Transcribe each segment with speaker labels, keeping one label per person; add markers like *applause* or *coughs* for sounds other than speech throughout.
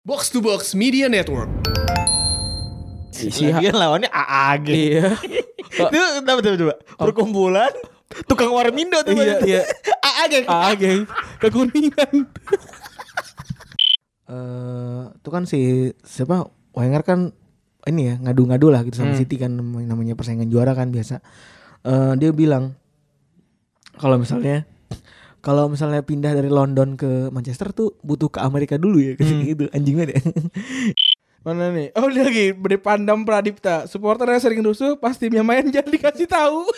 Speaker 1: Box to Box Media Network.
Speaker 2: Iya. Lagian lawannya AAG.
Speaker 3: Iya.
Speaker 2: Itu apa tuh coba? Perkumpulan tukang warmindo tuh.
Speaker 3: Iya,
Speaker 2: berarti.
Speaker 3: iya.
Speaker 2: AAG.
Speaker 3: Ah, geng. Kekuningan.
Speaker 2: *laughs* Eh, itu kan si siapa? Wenger kan ini ya ngadu-ngadu lah gitu
Speaker 3: Hmm.
Speaker 2: sama City kan nam- namanya persaingan juara kan biasa. Eh, dia bilang kalau misalnya kalau misalnya pindah dari London ke Manchester tuh butuh ke Amerika dulu ya ke
Speaker 3: Hmm.
Speaker 2: sini gitu anjingnya deh.
Speaker 3: Mana nih? Oh, ini lagi dari Pandam Pradipta. Supporternya sering rusuh, pas timnya main *laughs* jangan dikasih tahu.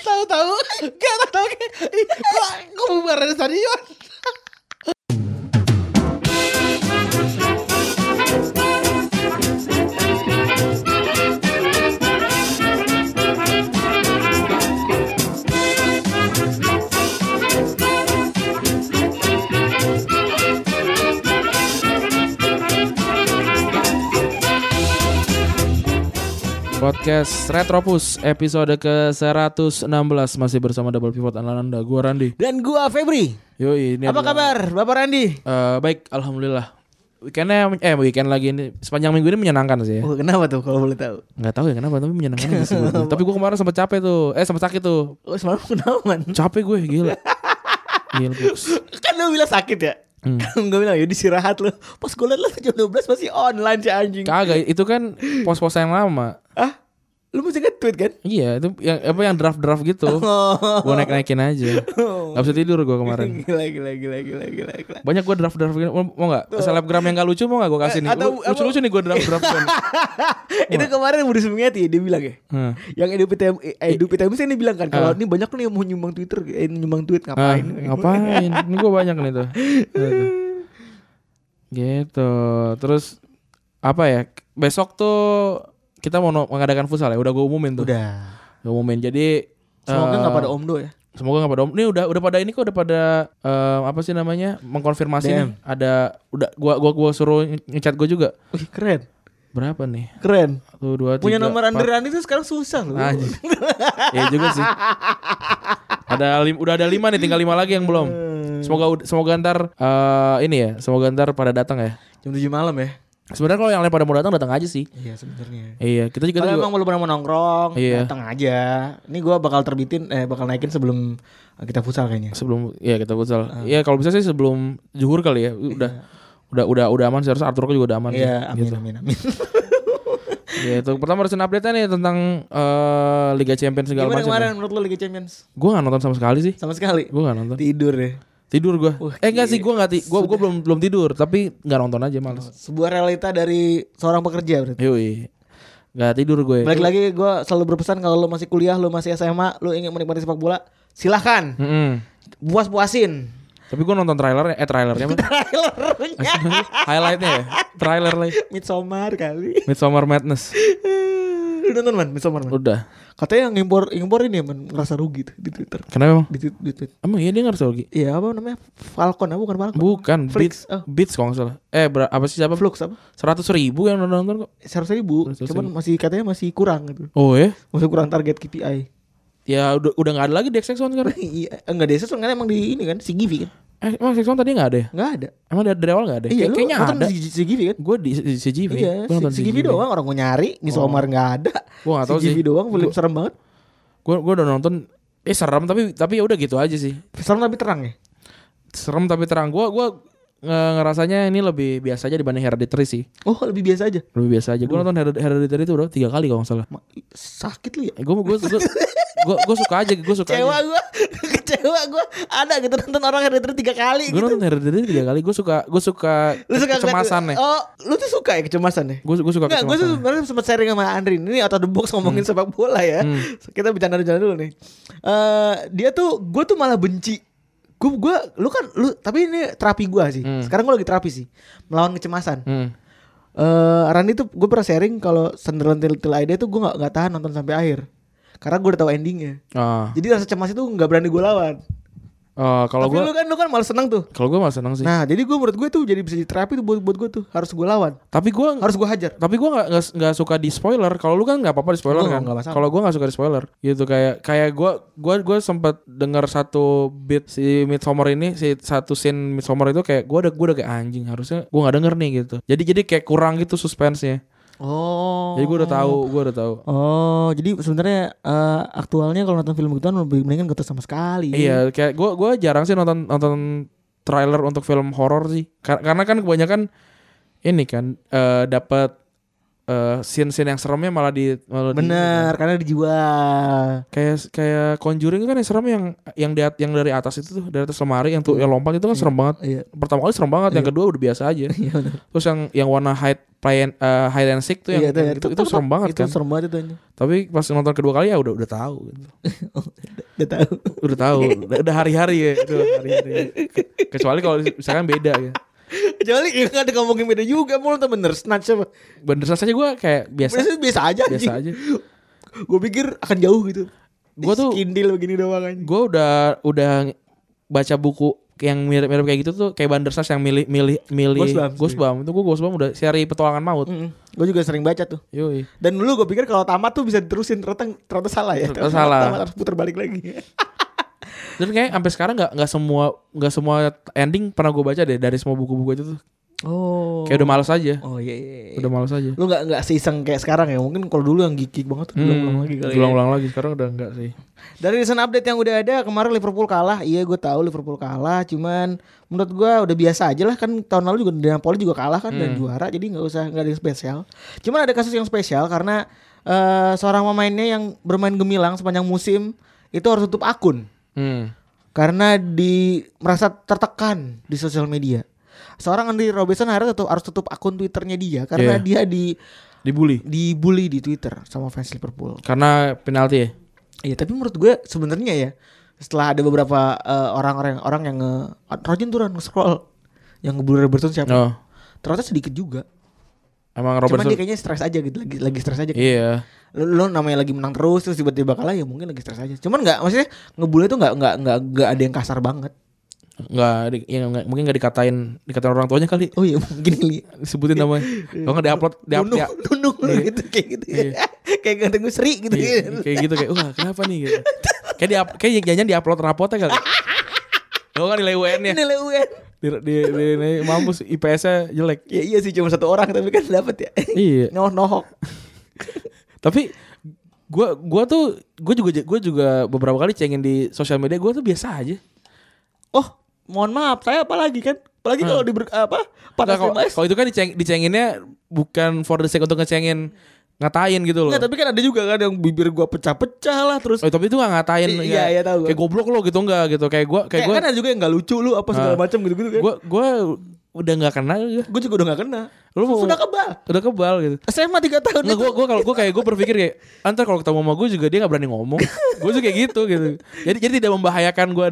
Speaker 2: Tahu-tahu gak tahu kok kok bubaran stadion.
Speaker 4: Podcast Retropus episode ke-116 masih bersama Double Pivot Ananda gua Randi.
Speaker 2: *laughs* Dan gua Febri.
Speaker 4: Yoi, ini
Speaker 2: Apa
Speaker 4: adalah-
Speaker 2: kabar Bapak Randi?
Speaker 4: Eh, baik, alhamdulillah. Weekendnya eh weekend lagi ini sepanjang minggu ini menyenangkan sih ya.
Speaker 2: Oh, kenapa tuh kalau boleh tahu?
Speaker 4: Nggak tahu ya kenapa tapi menyenangkan aja sih
Speaker 2: *laughs*
Speaker 4: buat gua. Tapi gua kemarin sempat capek tuh. Eh sempat sakit tuh.
Speaker 2: Oh, semalam kenaman.
Speaker 4: Capek gue gila. gila
Speaker 2: *laughs*
Speaker 4: Bux.
Speaker 2: Kan lu bilang sakit ya?
Speaker 4: Hmm.
Speaker 2: Kan gue bilang ya istirahat lu. Pas gue liat lu jam 12 masih online si anjing.
Speaker 4: Kagak, itu kan pos-pos yang lama.
Speaker 2: ah? Lu mesti nge-tweet kan? Oh.
Speaker 4: Iya, itu yang apa yang draft-draft gitu. Gua naik-naikin aja. Gak bisa tidur gua *laughs* kemarin.
Speaker 2: Gila gila gila gila gila gila.
Speaker 4: Banyak gue draft draft mau, mau gak? Selebgram yang gak lucu mau gak gue kasih nih?
Speaker 2: Eh, atau-
Speaker 4: lucu lucu nih kan. gue draft draft
Speaker 2: *laughs* Itu kemarin Budi Sumiati dia bilang ya.
Speaker 4: Heeh.
Speaker 2: Yang eh, Edu PTM Edu PTM sih ini bilang kan
Speaker 4: Hmm.
Speaker 2: kalau ini banyak nih yang mau nyumbang Twitter, eh, nyumbang tweet ngapain? Gitu.
Speaker 4: ngapain? Ini gue banyak nih tuh. gitu. Terus apa ya? Besok tuh kita mau no- mengadakan futsal ya. Udah gue umumin tuh.
Speaker 2: Udah.
Speaker 4: Gua umumin. Jadi
Speaker 2: Semoga
Speaker 4: eh,
Speaker 2: nggak pada Omdo ya.
Speaker 4: Semoga nggak pada om. Ini udah udah pada ini kok udah pada eh, apa sih namanya mengkonfirmasi
Speaker 2: DM.
Speaker 4: nih. Ada udah gua gua gua suruh ngecat gue juga.
Speaker 2: Wih, keren.
Speaker 4: Berapa nih?
Speaker 2: Keren.
Speaker 4: Satu dua tiga.
Speaker 2: Punya nomor
Speaker 4: empat,
Speaker 2: Andre Randi tuh sekarang susah loh.
Speaker 4: Anjing. Iya juga sih. Ada lim- udah ada lima nih, tinggal lima lagi yang belum. Semoga ud- semoga ntar eh, ini ya, semoga ntar pada datang ya.
Speaker 2: Jam 7 malam ya.
Speaker 4: Sebenarnya kalau yang lain pada mau datang datang aja sih.
Speaker 2: Iya sebenarnya.
Speaker 4: Iya, kita juga
Speaker 2: Kalau
Speaker 4: tuh
Speaker 2: emang lu pernah mau nongkrong,
Speaker 4: Iya.
Speaker 2: datang aja. Ini gua bakal terbitin eh bakal naikin sebelum kita futsal kayaknya.
Speaker 4: sebelum ya kita futsal.
Speaker 2: Ah.
Speaker 4: Iya, kalau bisa sih sebelum zuhur kali ya. Udah udah udah udah aman sih harus Arthur juga udah aman. sih.
Speaker 2: Iya, amin amin amin.
Speaker 4: *laughs* Iya, itu pertama harus update nih tentang eh, Liga Champions segala
Speaker 2: Gimana
Speaker 4: macam.
Speaker 2: kemarin menurut lu Liga Champions?
Speaker 4: Gue gak nonton sama sekali sih.
Speaker 2: Sama sekali.
Speaker 4: Gue gak nonton.
Speaker 2: Tidur ya. deh.
Speaker 4: Tidur gue. Eh enggak sih, gue nggak ti- gua, gua belum belum tidur, tapi nggak nonton aja males.
Speaker 2: Sebuah realita dari seorang pekerja berarti.
Speaker 4: Yoi Gak tidur gue
Speaker 2: Balik lagi gua selalu berpesan kalau lu masih kuliah, lu masih SMA, lu ingin menikmati sepak bola, silahkan
Speaker 4: Mm-mm. *laughs*
Speaker 2: Puas-puasin.
Speaker 4: Tapi gue nonton trailernya Eh trailernya apa?
Speaker 2: Trailernya
Speaker 4: Highlightnya ya Trailer lagi
Speaker 2: Midsommar kali.
Speaker 4: Midsummer Madness
Speaker 2: Lu nonton man Midsommar man.
Speaker 4: Udah
Speaker 2: Katanya yang impor impor ini man ngerasa rugi tuh di Twitter.
Speaker 4: Kenapa emang?
Speaker 2: Di, tweet- di tweet.
Speaker 4: Emang iya dia ngerti lagi
Speaker 2: Iya apa namanya Falcon apa bukan Falcon?
Speaker 4: Bukan
Speaker 2: Flix.
Speaker 4: Beats
Speaker 2: Oh.
Speaker 4: Beats kalau nggak salah Eh ber- apa sih siapa?
Speaker 2: Flux apa?
Speaker 4: Seratus ribu yang nonton kok
Speaker 2: Seratus ribu,
Speaker 4: Seratus
Speaker 2: cuman masih katanya masih kurang gitu,
Speaker 4: Oh ya?
Speaker 2: masih kurang target
Speaker 4: *laughs*
Speaker 2: KPI.
Speaker 4: Ya udah udah gak ada lagi Dex Sexon sekarang
Speaker 2: Iya, enggak desa soalnya emang di ini kan si Givi kan,
Speaker 4: Eh emang Sexon tadi gak ada ya?
Speaker 2: enggak ada.
Speaker 4: Emang dari, dari awal gak ada? ya?
Speaker 2: Iya,
Speaker 4: Kayak-
Speaker 2: lu
Speaker 4: Kayaknya
Speaker 2: nonton
Speaker 4: ada
Speaker 2: si, si Givi kan?
Speaker 4: Gue di, di CGV
Speaker 2: Iya,
Speaker 4: Gua
Speaker 2: si, si Givi doang orang gue nyari, Miss Omar enggak ada.
Speaker 4: Oh. Gua nggak tahu
Speaker 2: si Givi
Speaker 4: sih.
Speaker 2: doang, film serem banget.
Speaker 4: Gue gue udah nonton Eh serem tapi tapi ya udah gitu aja sih
Speaker 2: Serem tapi terang ya.
Speaker 4: Serem tapi terang Gue gua, eh, ngerasanya ini lebih biasa aja dibanding Hereditary sih
Speaker 2: Oh lebih biasa aja.
Speaker 4: lebih biasa aja. Gue nonton Hered- Hereditary itu berapa? Tiga kali kalau nggak salah. Eh,
Speaker 2: Ma- Sakit lu ya.
Speaker 4: Gue gue gue gue suka aja, gue suka
Speaker 2: Kecewa
Speaker 4: aja.
Speaker 2: gue, *laughs* kecewa gue. Ada gitu nonton orang Hereditary tiga kali.
Speaker 4: Gue
Speaker 2: Gitu.
Speaker 4: nonton Hereditary tiga kali. Gue suka gue suka,
Speaker 2: Lu suka ngeliat-
Speaker 4: kecemasannya.
Speaker 2: Oh, lu tuh suka ya kecemasannya?
Speaker 4: Gue gue suka Hmm.
Speaker 2: Nggak, gue tuh
Speaker 4: kecemasannya.
Speaker 2: sebenarnya sempat sharing sama Andri ini out of the box ngomongin sepak bola ya. Kita bercanda-bercanda dulu nih. Eh dia tuh gue tuh malah benci. Gue gue lu kan lu tapi ini terapi gue sih. Sekarang gue lagi terapi sih melawan kecemasan. Eh
Speaker 4: Hmm.
Speaker 2: Rani tuh gue pernah sharing kalau Sunderland Till Till I Die tuh gue nggak nggak tahan nonton sampai akhir. Karena gue udah tahu endingnya.
Speaker 4: Ah.
Speaker 2: Jadi rasa cemas itu nggak berani gue lawan.
Speaker 4: Eh, kalau
Speaker 2: Tapi
Speaker 4: gue
Speaker 2: lu kan lu kan malah seneng tuh.
Speaker 4: kalau gue malah seneng sih.
Speaker 2: Nah, jadi gue menurut gue tuh jadi bisa jadi terapi tuh buat buat gue tuh harus gue lawan,
Speaker 4: tapi gue
Speaker 2: harus gue hajar.
Speaker 4: tapi gue nggak nggak- nggak suka di spoiler kalau lu kan nggak apa-apa di spoiler
Speaker 2: Gua
Speaker 4: kan
Speaker 2: nggak masalah.
Speaker 4: kalau gue nggak suka di spoiler gitu kayak kayak gue gue gue sempat dengar satu beat si Midsommar ini si satu scene Midsommar itu kayak gue udah gue udah kayak anjing harusnya gue nggak denger nih gitu jadi jadi kayak kurang gitu suspense-nya
Speaker 2: Oh.
Speaker 4: jadi gue udah tahu gue udah tahu
Speaker 2: Oh, jadi sebenarnya eh, aktualnya kalau nonton film gituan lebih mendingan gak sama sekali.
Speaker 4: Iya, kayak gue gua jarang sih nonton nonton trailer untuk film horor sih. Kar- Karena kan kebanyakan ini kan eh dapat eh, scene-scene yang seremnya malah di malah di-
Speaker 2: Bener, karena dijual.
Speaker 4: kayak kayak Conjuring kan yang serem yang yang di at- yang dari atas itu tuh, dari atas lemari yang tuh yang lompat itu kan serem banget.
Speaker 2: Iya.
Speaker 4: Pertama kali serem banget, yang kedua udah biasa aja.
Speaker 2: *laughs* Iya bener.
Speaker 4: Terus yang yang warna hide play and, eh, hide and seek tuh yang,
Speaker 2: Iya,
Speaker 4: yang itu, itu serem banget
Speaker 2: itu
Speaker 4: kan.
Speaker 2: serem banget itu anjing.
Speaker 4: Tapi pas nonton kedua kali ya udah udah tahu gitu.
Speaker 2: Oh, udah tahu. *laughs*
Speaker 4: udah tahu udah, udah hari-hari ya udah hari-hari Ke- kecuali kalau misalkan beda ya
Speaker 2: Kecuali ya kan ada ngomongin beda juga, mau nonton bener snatch apa?
Speaker 4: bener saja gue kayak biasa
Speaker 2: Biasa biasa aja.
Speaker 4: biasa
Speaker 2: *laughs*
Speaker 4: aja
Speaker 2: Gue pikir akan jauh gitu.
Speaker 4: Gua tuh-
Speaker 2: kindil begini doang anjing.
Speaker 4: gue udah udah baca buku yang mirip-mirip kayak gitu tuh kayak Bandersnatch yang milih milih milih
Speaker 2: Ghostbump.
Speaker 4: Ghostbump itu gue Ghostbump udah seri petualangan maut
Speaker 2: Gue juga sering baca tuh.
Speaker 4: yoi
Speaker 2: Dan dulu gue pikir kalau tamat tuh bisa diterusin ternyata ternyata salah ya.
Speaker 4: Ternyata salah.
Speaker 2: Tamat harus putar balik lagi.
Speaker 4: *laughs* dan kayak sampai sekarang nggak nggak semua nggak semua ending pernah gue baca deh dari semua buku-buku itu tuh
Speaker 2: Oh.
Speaker 4: kayak udah males aja
Speaker 2: Oh iya. iya, iya.
Speaker 4: udah males aja
Speaker 2: Lu nggak nggak seiseng kayak sekarang ya? Mungkin kalau dulu yang gigik banget tuh ulang lagi kali. ya.
Speaker 4: ulang-ulang Hmm. lagi sekarang udah enggak sih
Speaker 2: Dari recent update yang udah ada kemarin Liverpool kalah. Iya gue tahu Liverpool kalah. Cuman menurut gue udah biasa aja lah kan tahun lalu juga dari Napoli juga kalah kan dan juara. Jadi nggak usah nggak ada yang spesial. Cuman ada kasus yang spesial karena eh, seorang pemainnya yang bermain gemilang sepanjang musim itu harus tutup akun
Speaker 4: hmm.
Speaker 2: karena di merasa tertekan di sosial media. Seorang Andy Robertson harus tutup, harus tutup akun Twitternya dia karena
Speaker 4: Iya.
Speaker 2: dia di
Speaker 4: dibully
Speaker 2: dibully di Twitter sama fans Liverpool.
Speaker 4: karena penalti ya
Speaker 2: Iya, tapi menurut gue sebenarnya ya setelah ada beberapa eh, orang-orang orang yang nge rajin tuh nge scroll yang ngebully Robertson siapa?
Speaker 4: oh
Speaker 2: Ternyata sedikit juga.
Speaker 4: emang
Speaker 2: Cuman dia
Speaker 4: Robertson
Speaker 2: kayaknya stres aja gitu, lagi lagi stres aja.
Speaker 4: iya
Speaker 2: Lo, lo namanya lagi menang terus terus tiba-tiba kalah ya mungkin lagi stres aja. Cuman nggak maksudnya ngebully tuh nggak nggak nggak nggak ada yang kasar banget.
Speaker 4: nggak di- ya, nggak- mungkin nggak dikatain dikatain orang tuanya kali
Speaker 2: Oh iya *laughs* mungkin kali.
Speaker 4: sebutin namanya kalau nggak diupload di
Speaker 2: Nunung, nunung lo *laughs* gitu kayak gitu. kayak ganteng gue seri gitu.
Speaker 4: kayak gitu kayak wah kenapa nih gitu kayak di kayak jangan diupload rapotnya kali Lo kan nilai UN nya
Speaker 2: Nilai UN.
Speaker 4: di, di, di, di mampus IPS nya jelek
Speaker 2: Ya iya sih cuma satu orang tapi kan dapat ya.
Speaker 4: iya
Speaker 2: *laughs* Noh nohok.
Speaker 4: tapi gua gua tuh gua juga gua juga beberapa kali cengin di sosial media gua tuh biasa aja
Speaker 2: oh mohon maaf saya apa lagi kan apalagi
Speaker 4: Hmm.
Speaker 2: kalau di ber- apa pada
Speaker 4: Nggak, kalau kalau itu kan diceng, dicenginnya bukan for the sake untuk ngecengin ngatain gitu loh
Speaker 2: Nggak, tapi kan ada juga kan yang bibir gua pecah-pecah lah terus
Speaker 4: Oh, tapi itu gak ngatain
Speaker 2: Iya,
Speaker 4: kayak-
Speaker 2: iya, tahu gua.
Speaker 4: Kayak goblok lo gitu enggak gitu. Kayak gua kayak
Speaker 2: kayak
Speaker 4: gua
Speaker 2: kan ada juga yang nggak lucu lu apa segala
Speaker 4: Ah.
Speaker 2: macam gitu-gitu kan
Speaker 4: gua gua udah nggak kenal ya.
Speaker 2: gua juga udah nggak kena
Speaker 4: Lu mau-
Speaker 2: sudah kebal
Speaker 4: Udah kebal gitu.
Speaker 2: SMA 3 tahun
Speaker 4: Nggak,
Speaker 2: itu.
Speaker 4: gua gua kalau gua kayak gua berpikir kayak antar kalau ketemu sama gua juga dia nggak berani ngomong. gua juga kayak gitu gitu. Jadi jadi tidak membahayakan gua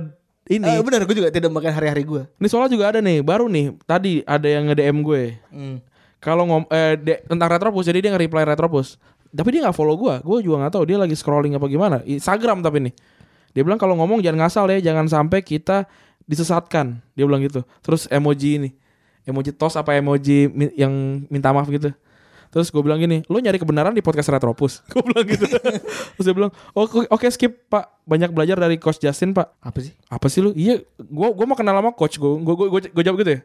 Speaker 4: ini.
Speaker 2: Eh, bener gua juga tidak makan hari-hari gua
Speaker 4: ini soalnya juga ada nih, baru nih. Tadi ada yang nge-DM gue. Hmm.
Speaker 2: *laughs*
Speaker 4: Kalau ngom eh, de- tentang Retropus jadi dia nge-reply Retropus. Tapi dia nggak follow gua. Gua juga nggak tahu dia lagi scrolling apa gimana. Instagram tapi nih. Dia bilang kalau ngomong jangan ngasal ya, jangan sampai kita disesatkan. Dia bilang gitu. Terus emoji ini. Emoji tos apa emoji mi- yang minta maaf gitu. Terus gue bilang gini, lo nyari kebenaran di podcast Retropus. Gue bilang *laughs* gitu. Terus dia bilang, "Oh, oke oke skip pak, banyak belajar dari Coach Justin pak
Speaker 2: apa sih
Speaker 4: apa sih lu iya gua gua mau kenal sama coach gua gua gua gua, gua jawab gitu ya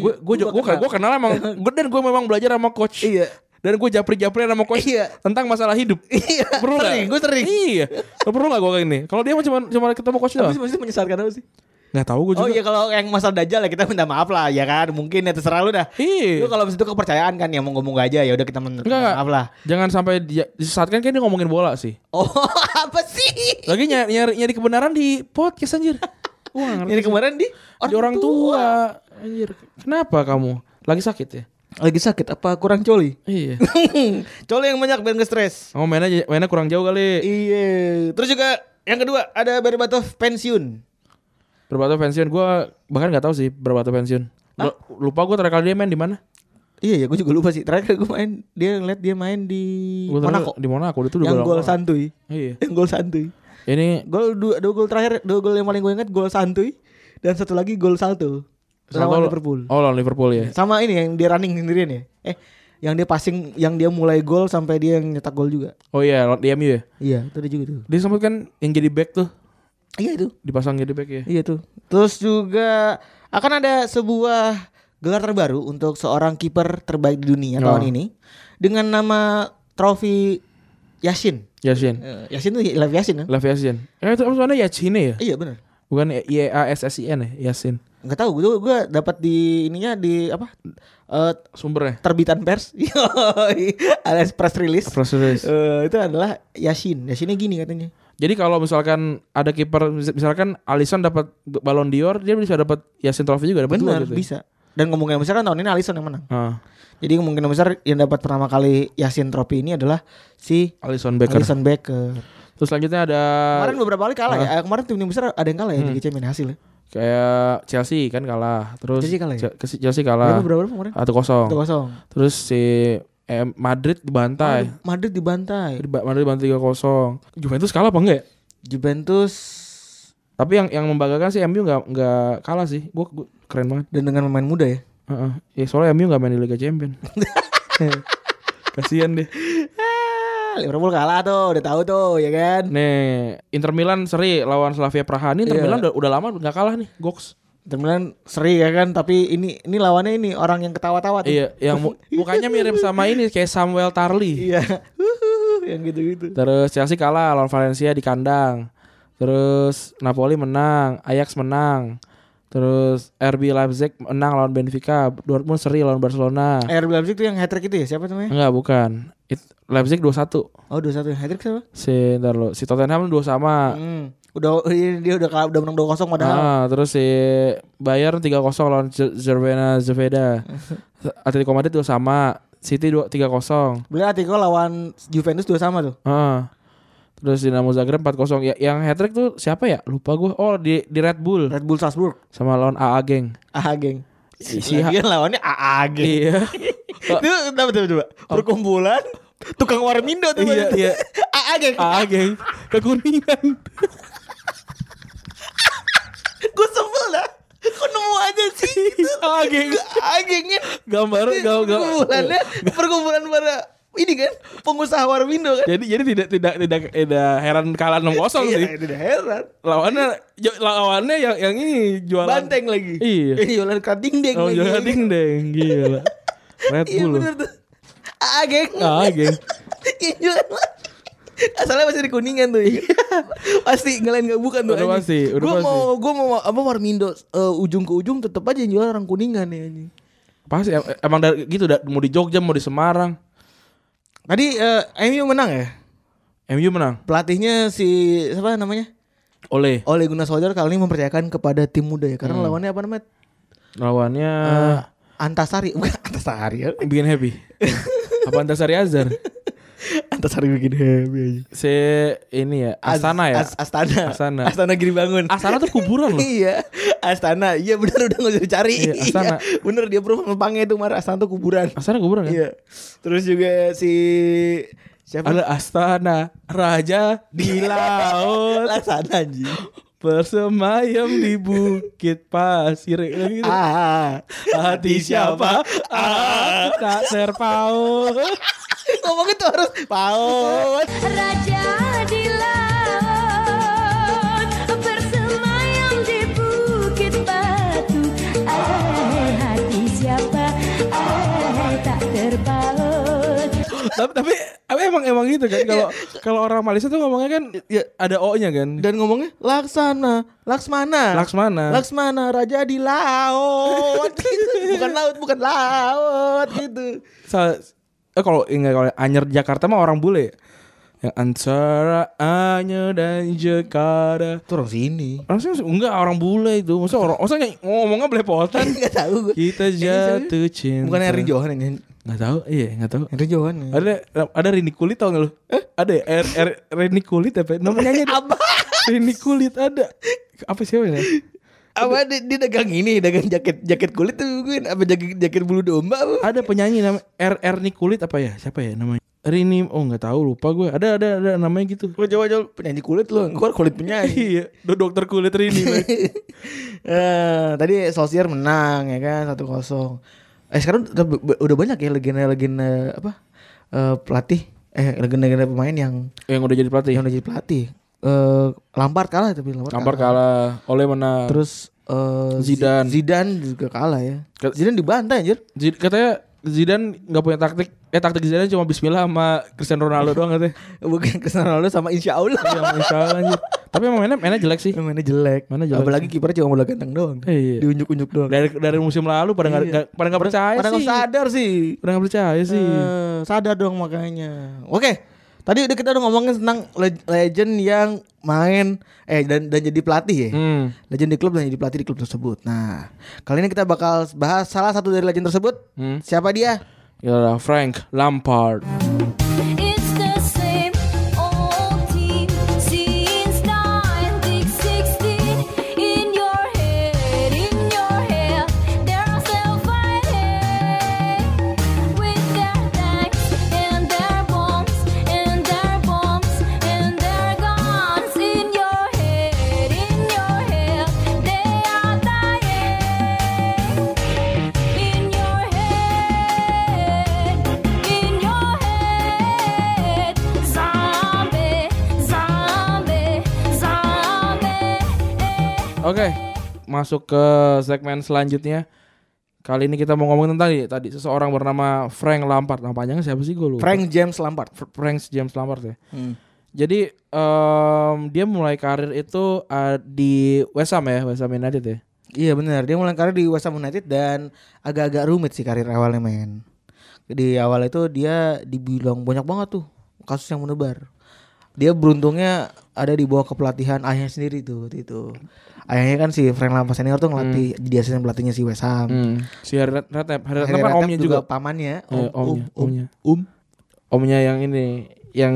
Speaker 4: gua gua
Speaker 2: lu
Speaker 4: gua, gua,
Speaker 2: Iya, kenal.
Speaker 4: gua kenal
Speaker 2: *laughs*
Speaker 4: emang gua, dan gua memang belajar sama coach
Speaker 2: Iya.
Speaker 4: dan gua japri japri sama coach
Speaker 2: Iya.
Speaker 4: tentang masalah hidup
Speaker 2: Iya,
Speaker 4: *laughs* perlu nggak?
Speaker 2: sering, gua sering.
Speaker 4: iya Lo perlu nggak gua kayak ini kalau dia mah cuma cuma ketemu coach
Speaker 2: apa
Speaker 4: doang
Speaker 2: sih maksudnya menyesatkan apa sih
Speaker 4: nggak tahu gua
Speaker 2: Oh
Speaker 4: juga
Speaker 2: iya kalau yang masalah dajal ya kita minta maaf lah ya kan mungkin ya terserah lu dah. Lu
Speaker 4: Iya.
Speaker 2: kalau misalnya itu kepercayaan kan ya mau ngomong gak aja ya udah kita minta
Speaker 4: Nggak, nggak.
Speaker 2: maaf lah. *laughs*
Speaker 4: jangan sampai dia, disesatkan kayak dia ngomongin bola sih
Speaker 2: Oh apa sih?
Speaker 4: lagi nyari nyari, nyari kebenaran di podcast anjir wah
Speaker 2: *laughs*
Speaker 4: ngerti.
Speaker 2: Ini kemarin di
Speaker 4: di orang tua anjir kenapa kamu lagi sakit ya
Speaker 2: Lagi sakit apa kurang coli?
Speaker 4: iya
Speaker 2: Hmm, coli yang banyak biar nggak stres.
Speaker 4: Oh mainnya mainnya kurang jauh kali.
Speaker 2: Iya. Terus juga yang kedua ada Berbatov pensiun.
Speaker 4: Berapa tuh pensiun? Gua bahkan nggak tahu sih berapa tuh pensiun. Lu- Lupa gua terakhir kali dia main di mana?
Speaker 2: Iya ya, gue juga lupa sih. Terakhir gue main dia ngeliat dia main di
Speaker 4: Gua terakhir-
Speaker 2: Monaco.
Speaker 4: Di Monaco itu udah
Speaker 2: Yang
Speaker 4: lama
Speaker 2: gol
Speaker 4: banget.
Speaker 2: santuy.
Speaker 4: Iya.
Speaker 2: Yang gol santuy.
Speaker 4: Ini
Speaker 2: Gol dua, dua gol terakhir, dua gol yang paling gue ingat gol santuy dan satu lagi gol salto lawan
Speaker 4: Santo-
Speaker 2: Liverpool. Iya.
Speaker 4: Oh, lawan Liverpool ya.
Speaker 2: Sama ini yang dia running sendirian ya. Eh, yang dia passing, yang dia mulai gol sampai dia yang nyetak gol juga.
Speaker 4: Oh iya, lawan di MU ya.
Speaker 2: Iya, itu dia juga tuh.
Speaker 4: Dia sempat kan yang jadi back tuh,
Speaker 2: Iya itu.
Speaker 4: dipasang jadi back ya.
Speaker 2: Iya tuh. Terus juga akan ada sebuah gelar terbaru untuk seorang kiper terbaik di dunia
Speaker 4: Oh.
Speaker 2: tahun ini dengan nama trofi Yasin.
Speaker 4: Yasin.
Speaker 2: Eh, Yasin tuh Lev Yasin kan?
Speaker 4: Lev Yasin. Eh itu apa sebenarnya Yacine ya?
Speaker 2: Iya benar.
Speaker 4: Bukan Y A S S I N ya, Yasin.
Speaker 2: Enggak tahu gue gue dapat di ininya di apa? eh,
Speaker 4: Sumbernya.
Speaker 2: terbitan pers. *laughs* Yoi. Alias press release.
Speaker 4: Press release.
Speaker 2: Eh, itu adalah Yasin. Yasinnya gini katanya.
Speaker 4: Jadi kalau misalkan ada kiper mis- misalkan Alisson dapat Ballon d'Or, dia bisa dapat Yasin Trophy juga dapat dua
Speaker 2: Benar,
Speaker 4: gitu. ya?
Speaker 2: bisa. Dan kemungkinan besar kan tahun ini Alisson yang menang.
Speaker 4: Ah,
Speaker 2: Jadi kemungkinan besar yang dapat pertama kali Yasin trofi ini adalah si
Speaker 4: Alisson Becker.
Speaker 2: Alisson Becker.
Speaker 4: Terus selanjutnya ada
Speaker 2: Kemarin beberapa kali kalah
Speaker 4: Ah.
Speaker 2: ya. Eh, Kemarin tim-tim besar ada yang kalah
Speaker 4: Hmm.
Speaker 2: ya di Liga Champions hasil ya.
Speaker 4: kayak Chelsea kan kalah. Terus
Speaker 2: Chelsea kalah ya?
Speaker 4: Ce- Chelsea- Chelsea kalah.
Speaker 2: Berapa berapa kemarin?
Speaker 4: Atau kosong.
Speaker 2: 1-0.
Speaker 4: Terus si eh, Madrid dibantai.
Speaker 2: Madrid dibantai.
Speaker 4: Madrid, Madrid dibantai 3-0. Juventus kalah apa enggak ya?
Speaker 2: Juventus
Speaker 4: Tapi yang yang membanggakan sih MU nggak nggak kalah sih. Gua, gua keren banget.
Speaker 2: dan dengan pemain muda
Speaker 4: *laughs*
Speaker 2: ya.
Speaker 4: Heeh. Ya soalnya MU nggak main di Liga
Speaker 2: *laughs*
Speaker 4: Champions. Kasihan deh.
Speaker 2: Ah, Liverpool kalah tuh, udah tahu tuh ya kan.
Speaker 4: Nih, Inter Milan seri lawan Slavia Praha. Ini Inter
Speaker 2: Iya.
Speaker 4: Milan udah, udah lama nggak kalah nih, Goks.
Speaker 2: Inter Milan seri ya kan, tapi ini ini lawannya ini orang yang ketawa-tawa tuh.
Speaker 4: Iya, yang
Speaker 2: *laughs*
Speaker 4: mu- mukanya mirip sama ini kayak Samuel Tarly.
Speaker 2: Iya. *laughs* Huhuhu, yang gitu-gitu.
Speaker 4: Terus Chelsea kalah lawan Valencia di kandang. Terus Napoli menang, Ajax menang. Terus RB Leipzig menang lawan Benfica, Dortmund seri lawan Barcelona.
Speaker 2: Eh, RB Leipzig tuh yang hat-trick itu ya, siapa namanya?
Speaker 4: Enggak, bukan. It, Leipzig 2-1.
Speaker 2: Oh, 2-1 hat-trick siapa?
Speaker 4: Si ntar lo, si Tottenham dua sama.
Speaker 2: Hmm. Udah *laughs* dia udah kalah, udah menang 2-0 padahal.
Speaker 4: Ah, terus si Bayern 3-0 lawan Z- Zervena
Speaker 2: *laughs*
Speaker 4: Zvezda. Atletico Madrid dua sama, City 2 3-0.
Speaker 2: Beli Atletico lawan Juventus dua sama tuh.
Speaker 4: Ah. Terus Dinamo Zagreb 4-0. Ya, yang hat trick tuh siapa ya? Lupa gue. Oh, di di Red Bull
Speaker 2: Red Bull Salzburg.
Speaker 4: sama lawan AA Geng.
Speaker 2: Ah, geng.
Speaker 4: Si- si-
Speaker 2: Lagian lawannya AA geng.
Speaker 4: Iya.
Speaker 2: *laughs*
Speaker 4: *laughs*
Speaker 2: Itu kenapa tuh coba? Perkumpulan tukang warmindo tuh.
Speaker 4: Iya,
Speaker 2: berarti.
Speaker 4: iya.
Speaker 2: AA geng.
Speaker 4: AA Geng Kan kekuningan.
Speaker 2: Gue sebel dah. Kok nemu aja sih gitu.
Speaker 4: AA Iya, Geng.
Speaker 2: AA gengnya
Speaker 4: Gambar gam, gam.
Speaker 2: perkumpulannya perkumpulan para ini kan pengusaha warmindo kan.
Speaker 4: Jadi jadi tidak tidak tidak tidak heran kalah 6-0 sih.
Speaker 2: Iya, tidak heran.
Speaker 4: Lawannya jo- lawannya yang yang ini jualan
Speaker 2: Banteng lagi.
Speaker 4: Iya.
Speaker 2: Eh, Jualan kating deng
Speaker 4: Oh,
Speaker 2: lagi.
Speaker 4: jualan ding deng
Speaker 2: *laughs*
Speaker 4: gila. Red
Speaker 2: Iya
Speaker 4: Bull.
Speaker 2: bener tuh. AA geng.
Speaker 4: Ah, geng.
Speaker 2: *laughs* Iya jualan lagi. Asalnya masih di kuningan tuh. ya. pasti ngelain gak bukan tuh.
Speaker 4: Udah
Speaker 2: anjing.
Speaker 4: pasti, udah
Speaker 2: gua
Speaker 4: pasti.
Speaker 2: mau gua mau apa Warmindo eh, ujung ke ujung tetap aja yang jual orang kuningan ya anjing.
Speaker 4: Pasti em- emang dari gitu da- mau di Jogja mau di Semarang.
Speaker 2: Tadi eh MU menang ya?
Speaker 4: MU menang.
Speaker 2: Pelatihnya si siapa namanya?
Speaker 4: Oleh
Speaker 2: Oleh Gunnar Solskjaer kali ini mempercayakan kepada tim muda ya
Speaker 4: Hmm.
Speaker 2: karena lawannya apa namanya? Eh,
Speaker 4: lawannya
Speaker 2: Antasari bukan Antasari ya.
Speaker 4: Eh, bikin *laughs* happy. Apa Antasari Azhar?
Speaker 2: Antasari bikin happy aja.
Speaker 4: Si ini ya Astana ya.
Speaker 2: As- Astana.
Speaker 4: Astana.
Speaker 2: Astana Giri Bangun.
Speaker 4: Astana tuh kuburan *laughs* loh.
Speaker 2: *laughs* iya, Astana. Iya benar udah nggak usah dicari.
Speaker 4: Iya, Astana.
Speaker 2: Iya, bener dia proof Pangnya itu marah Astana tuh kuburan.
Speaker 4: Astana kuburan kan?
Speaker 2: Iya. Terus juga si siapa?
Speaker 4: Ada Astana Raja di laut
Speaker 2: Laksana anjing.
Speaker 4: bersemayam di bukit pasir gitu.
Speaker 2: Ah.
Speaker 4: Hati siapa? Aku tak terpaut.
Speaker 2: Ngomongnya tuh harus paut.
Speaker 5: Raja di laut bersemayam di bukit batu. Ai hati siapa? Ai tak terpaut.
Speaker 4: tapi, tapi tapi emang emang gitu kan kalau kalau orang Malaysia tuh ngomongnya kan ya, ada o-nya kan.
Speaker 2: Dan ngomongnya Laksana, Laksmana.
Speaker 4: Laksmana.
Speaker 2: Laksmana raja di *laughs* laut. Gitu. bukan laut, bukan laut gitu.
Speaker 4: Sa- eh, kalau enggak kalau Anyer Jakarta mah orang bule. Yang antara Anyer dan Jakarta.
Speaker 2: Itu orang sini.
Speaker 4: Langsung enggak orang bule itu. Maksudnya orang maksudnya ngomongnya belepotan.
Speaker 2: Enggak tahu gue.
Speaker 6: Eh,
Speaker 4: Kita jatuh cinta.
Speaker 2: Bukan Henry Johan ini.
Speaker 4: Enggak tahu. Iya, enggak tahu.
Speaker 2: Iya, Henry Johan. ya.
Speaker 4: Ada ada Rini Kulit tau gak lu?
Speaker 6: Eh?
Speaker 4: Ada ya? R, R, Rini Kulit apa? Namanya
Speaker 6: *laughs*
Speaker 4: apa? Rini Kulit ada. Apa siapa ya?
Speaker 2: Apa dia, dia dagang ini, dagang jaket jaket kulit tuh gue apa jaket jaket bulu domba apa?
Speaker 4: ada penyanyi nama R R Nikulit apa ya? Siapa ya namanya? Rini oh nggak tahu lupa gue ada ada ada namanya gitu
Speaker 6: Lu coba coba penyanyi kulit lu, gua kulit
Speaker 2: *laughs*
Speaker 6: penyanyi.
Speaker 4: *laughs* iya do dokter kulit Rini Bang.
Speaker 2: Eh, tadi Solskjaer menang ya kan 1-0. Eh sekarang udah, udah banyak ya legenda-legenda apa? eh, pelatih eh legenda-legenda pemain yang
Speaker 4: *laughs* yang udah jadi pelatih
Speaker 2: yang udah jadi pelatih. Eh Lampard kalah tapi Lampard,
Speaker 4: Lampard kalah Oleh menang terus
Speaker 2: Terus eh, Z-
Speaker 4: Zidane.
Speaker 2: Zidane juga kalah ya.
Speaker 4: Ke-
Speaker 2: Zidane dibantai anjir.
Speaker 4: katanya Zidane nggak punya taktik eh taktik Zidane cuma Bismillah sama Cristiano Ronaldo doang katanya
Speaker 2: Bukan kesana lalu sama Insya Allah.
Speaker 4: Iya, Masya Allah, anjir. tapi emang mainnya mainnya jelek sih
Speaker 2: Mainnya jelek.
Speaker 4: Mainnya jelek.
Speaker 2: Apalagi kipernya cuma bola ganteng doang.
Speaker 4: Iya.
Speaker 2: Diunjuk-unjuk doang.
Speaker 4: dari dari musim lalu
Speaker 2: Iya.
Speaker 4: pada nggak nggak- pada nggak percaya
Speaker 2: Padahal
Speaker 4: sih
Speaker 2: sadar sih.
Speaker 4: pada nggak percaya sih
Speaker 2: Eh, sadar dong makanya. Oke. Tadi udah kita udah ngomongin tentang le- legend yang main eh dan dan jadi pelatih ya.
Speaker 4: hmm.
Speaker 2: Legend di klub dan jadi pelatih di klub tersebut. Nah, kali ini kita bakal bahas salah satu dari legend tersebut.
Speaker 4: Hmm.
Speaker 2: Siapa dia?
Speaker 4: ya udah, Frank Lampard
Speaker 5: It's the same old team since 1916. In your head, in your head, they're still fighting with their tanks and their bombs and their bombs and their guns. In your head, in your head, they are dying. In your head, in your head, zombie, zombie, zombie.
Speaker 4: Oke, masuk ke segmen selanjutnya. Kali ini kita mau ngomong tentang tadi, tadi seseorang bernama Frank Lampard. Nama panjangnya siapa sih gue lupa.
Speaker 2: Frank James Lampard.
Speaker 4: Fr- Frank James Lampard ya.
Speaker 2: Hmm.
Speaker 4: Jadi em, dia mulai karir itu eh, di West Ham ya, West Ham United ya.
Speaker 2: Iya benar, dia mulai karir di West Ham United dan agak-agak rumit sih karir awalnya men. Di awal itu dia dibilang banyak banget tuh kasus yang menebar. Dia beruntungnya ada di bawah kepelatihan ayahnya sendiri tuh waktu itu. Ayahnya kan si Frank Lampard senior tuh ngelatih jadi asisten pelatihnya si West Ham.
Speaker 4: Hmm. Si Harry Redknapp, Harry
Speaker 2: Harry
Speaker 4: Redknapp kan
Speaker 2: Redknapp
Speaker 4: omnya juga.
Speaker 2: pamannya,
Speaker 4: Eh,
Speaker 2: om, om,
Speaker 4: omnya,
Speaker 2: om,
Speaker 4: omnya.
Speaker 2: om.
Speaker 4: Omnya yang ini yang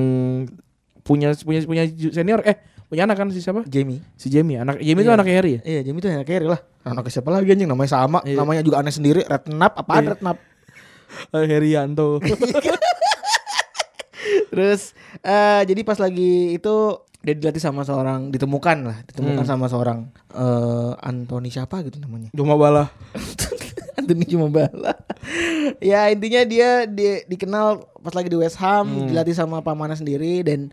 Speaker 4: punya punya punya senior eh punya anak kan si siapa?
Speaker 2: Jamie.
Speaker 4: Si Jamie. Anak Jamie itu anaknya
Speaker 2: *laughs*
Speaker 4: Harry ya?
Speaker 2: Iya, Jamie tuh anak Harry lah. Anak siapa lagi anjing namanya sama,
Speaker 4: Iya.
Speaker 2: namanya juga aneh sendiri, Redknapp apaan Redknapp.
Speaker 4: *laughs* Herianto.
Speaker 2: Terus eh jadi pas lagi itu dia dilatih sama seorang ditemukan lah, ditemukan sama seorang eh Anthony siapa gitu namanya. *laughs*
Speaker 4: Cuma bala.
Speaker 2: Anthony cuma bala. *laughs* ya intinya dia, dia dikenal pas lagi di West Ham, dilatih sama pamannya sendiri dan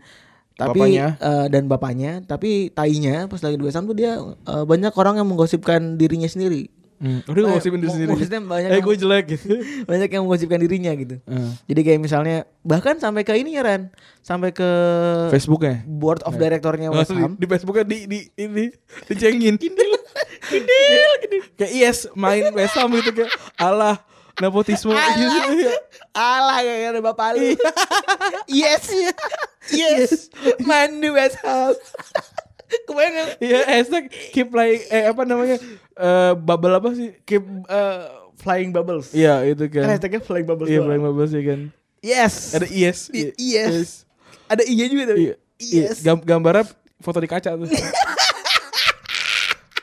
Speaker 2: tapi
Speaker 4: Bapaknya.
Speaker 2: eh, dan bapaknya, tapi tainya pas lagi di West Ham tuh dia eh, banyak orang yang menggosipkan dirinya sendiri.
Speaker 4: Hmm. Udah ngosipin diri
Speaker 2: Eh,
Speaker 4: sendiri.
Speaker 2: maksudnya banyak
Speaker 4: Eh
Speaker 2: yang-
Speaker 4: gue jelek gitu.
Speaker 2: banyak yang menggosipkan dirinya gitu.
Speaker 4: Eh.
Speaker 2: Jadi kayak misalnya bahkan sampai ke ini ya Ran, sampai ke
Speaker 4: Facebooknya.
Speaker 2: board *laughs* of directornya
Speaker 4: Nggak
Speaker 2: West
Speaker 4: usah Nah. di,
Speaker 2: Ham.
Speaker 4: di Facebooknya di di ini
Speaker 2: *laughs*
Speaker 4: dicengin. Kindil. Kindil. Kayak yes main West Ham gitu kayak Allah nepotisme Iya,
Speaker 2: Alah. Alah ya ya Bapak Ali. yes. Yes. Main di West Ham. Kebayang
Speaker 4: Iya hashtag keep like eh apa namanya eh bubble apa sih keep eh,
Speaker 2: uh, Flying Bubbles.
Speaker 4: iya itu kan
Speaker 2: Hashtagnya Flying Bubbles.
Speaker 4: iya
Speaker 2: doang.
Speaker 4: flying bubble sih kan
Speaker 2: Yes.
Speaker 4: ada E yes
Speaker 2: I- yes. Ada iya juga tapi.
Speaker 4: Iya.
Speaker 2: Yes.
Speaker 4: Iya, gam- gambarnya foto di kaca *laughs* tuh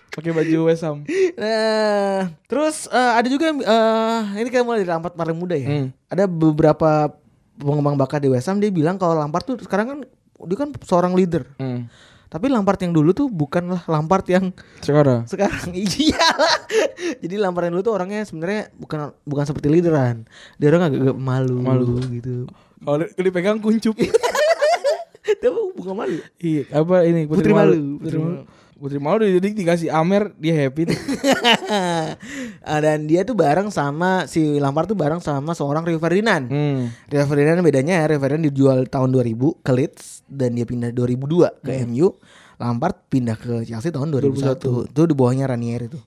Speaker 4: pakai baju West Ham
Speaker 2: Nah, terus eh, ada juga eh, ini kayak mulai dari Lampard paling muda ya.
Speaker 4: Hmm.
Speaker 2: Ada beberapa pengembang bakat di West Ham dia bilang kalau Lampard tuh sekarang kan dia kan seorang leader.
Speaker 4: hmm.
Speaker 2: Tapi Lampard yang dulu tuh bukanlah Lampard yang *laughs*
Speaker 4: sekarang
Speaker 2: sekarang *laughs* iyalah jadi Lampard yang dulu tuh orangnya sebenarnya bukan bukan seperti leaderan dia orang agak, agak malu, gitu *laughs*
Speaker 4: kalau di- dipegang *laughs* kuncup
Speaker 2: tapi bukan malu *laughs*
Speaker 4: Iya, apa ini
Speaker 2: Putri
Speaker 4: Putri,
Speaker 2: Malu.
Speaker 4: Malu. Putri Malu. Putri Malu udah jadi dikasih Amer, dia happy. tuh.
Speaker 2: Ah, dan dia tuh bareng sama si Lampard tuh bareng sama seorang Rio Ferdinand
Speaker 4: hmm.
Speaker 2: Rio Ferdinand bedanya Rio Ferdinand dijual tahun 2000 ke Leeds dan dia pindah 2002 ke MU Lampard pindah ke Chelsea tahun 2001. Itu di bawahnya Ranieri itu.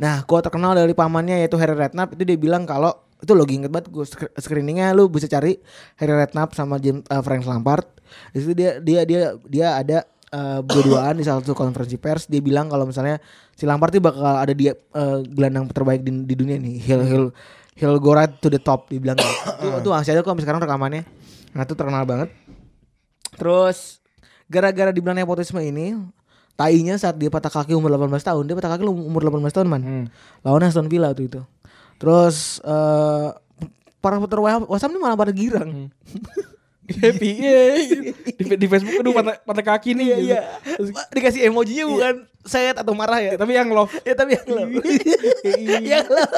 Speaker 2: Nah, gua terkenal dari pamannya yaitu Harry Redknapp itu dia bilang kalau itu lagi inget banget gue screeningnya lu bisa cari Harry Redknapp sama James eh, Frank Lampard. Di situ dia dia dia dia ada eh, berduaan di salah satu konferensi pers dia bilang kalau misalnya si Lampard tuh bakal ada dia eh, gelandang terbaik di, di dunia nih. He'll he'll he'll go right to the top dia bilang. gitu. *coughs* Tuh tuh masih ada kok sampai sekarang rekamannya. Nah, itu terkenal banget. Terus gara-gara dibilang nepotisme ini tainya saat dia patah kaki umur 18 tahun dia patah kaki lu- umur 18 tahun man lawan Aston Villa tuh itu terus eh para supporter West Ham- West Ham ini malah pada girang
Speaker 4: *laughs*
Speaker 3: happy
Speaker 4: Iya,
Speaker 3: yeah. di, di Facebook
Speaker 2: Iya.
Speaker 3: aduh patah, patah kaki nih gitu.
Speaker 2: Wah, *laughs* Dikasih emojinya bukan sayat atau marah ya.
Speaker 3: tapi yang love
Speaker 2: Ya tapi yang love. *laughs* yang love.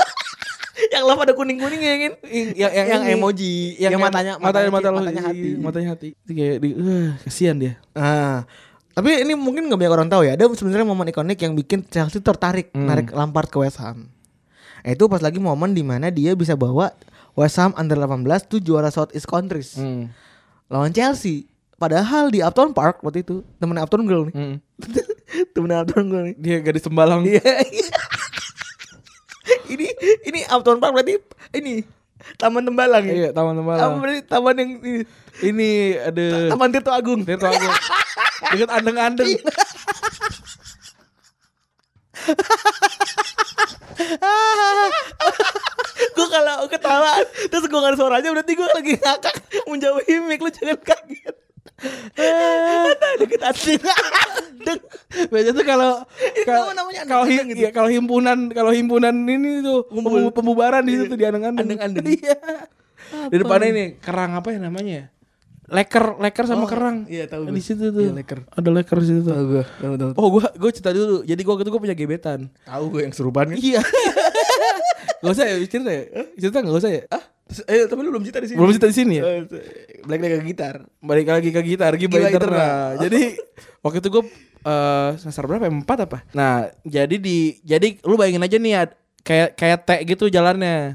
Speaker 2: yang love ada kuning-kuning ya kan?
Speaker 3: yang, yang,
Speaker 2: Yang
Speaker 3: ini.
Speaker 2: emoji, yang matanya-
Speaker 3: matanya
Speaker 2: matanya- iya.
Speaker 3: matanya,
Speaker 2: matanya hati.
Speaker 3: hati matanya hati itu kayak di, eh, kasihan dia
Speaker 2: Ah, tapi ini mungkin nggak banyak orang tahu ya. Ada sebenarnya momen ikonik yang bikin Chelsea tertarik
Speaker 4: Hmm.
Speaker 2: narik Lampard ke West Ham. Itu pas lagi momen dimana dia bisa bawa West Ham under 18 tuh juara South East Countries
Speaker 4: Hmm.
Speaker 2: lawan Chelsea. Padahal di Upton Park waktu itu temennya Upton Girl nih,
Speaker 4: Mm.
Speaker 2: *laughs* temennya Upton Girl nih. *laughs*
Speaker 4: Dia gadis tembalang.
Speaker 2: Iya. ini ini Upton Park berarti ini Taman Tembalang ya.
Speaker 4: Iya, taman
Speaker 2: Apa
Speaker 4: tembalang.
Speaker 2: berarti taman yang ini,
Speaker 4: Ini ada
Speaker 2: Taman Iya, Tirto Agung. *laughs*
Speaker 4: Tirto Agung. Dekat kan andeng-andeng.
Speaker 2: *laughs* gue kalau ketawa terus gue nggak ada suaranya berarti gue lagi ngakak menjauhi mic lu jangan kaget Aduh, deket hati *laughs* Deng.
Speaker 4: Biasanya tuh kalau
Speaker 2: tahu namanya
Speaker 4: kalau hi-
Speaker 2: andeng-andeng gitu.
Speaker 4: iya, kalau himpunan kalau himpunan ini tuh pembu- pembubaran di situ di andeng-andeng.
Speaker 2: Andeng-andeng.
Speaker 4: Iya. Di depannya ini kerang apa ya namanya? ya? Leker, leker sama kerang.
Speaker 2: iya, tahu
Speaker 4: Di
Speaker 2: gue.
Speaker 4: situ
Speaker 2: Iya,
Speaker 4: tuh.
Speaker 2: leker.
Speaker 4: Ada leker di situ tuh.
Speaker 2: gue tahu tahu
Speaker 4: Oh gue gue cerita dulu. Jadi gue gitu gue punya gebetan.
Speaker 2: tahu gue yang serupan kan
Speaker 4: Iya. gak usah ya cerita ya. Cerita gak usah ya.
Speaker 2: eh tapi lu belum cerita di sini
Speaker 4: Belum cerita di sini ya.
Speaker 2: Eh, balik lagi ke gitar
Speaker 4: balik lagi ke gitar gitar
Speaker 2: Giba
Speaker 4: internal.
Speaker 2: internal.
Speaker 4: Nah, Jadi waktu itu gue eh semester berapa? ya? Empat apa? Nah jadi di jadi lu bayangin aja nih ad- kayak kayak tek gitu jalannya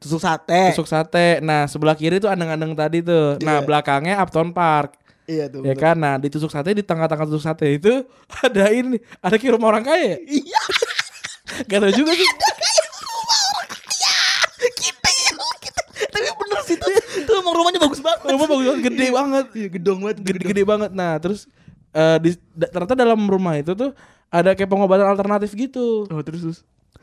Speaker 2: tusuk sate
Speaker 4: tusuk sate. Nah sebelah kiri tuh andeng-andeng tadi tuh. Nah belakangnya Upton Park.
Speaker 2: iya tuh
Speaker 4: Ya kan, nah di tusuk sate di tengah-tengah tusuk sate itu *laughs* ada ini, ada kayak rumah orang kaya. Iya. Gak tau juga sih.
Speaker 2: Iya, kita ya, kita tapi bener sih tuh tuh emang rumahnya bagus banget
Speaker 4: Rumah bagus banget, gede banget.
Speaker 2: iya gedong banget
Speaker 4: gede, gede banget. Nah, terus eh, di, da- ternyata dalam rumah itu tuh ada kayak pengobatan alternatif gitu.
Speaker 2: oh terus terus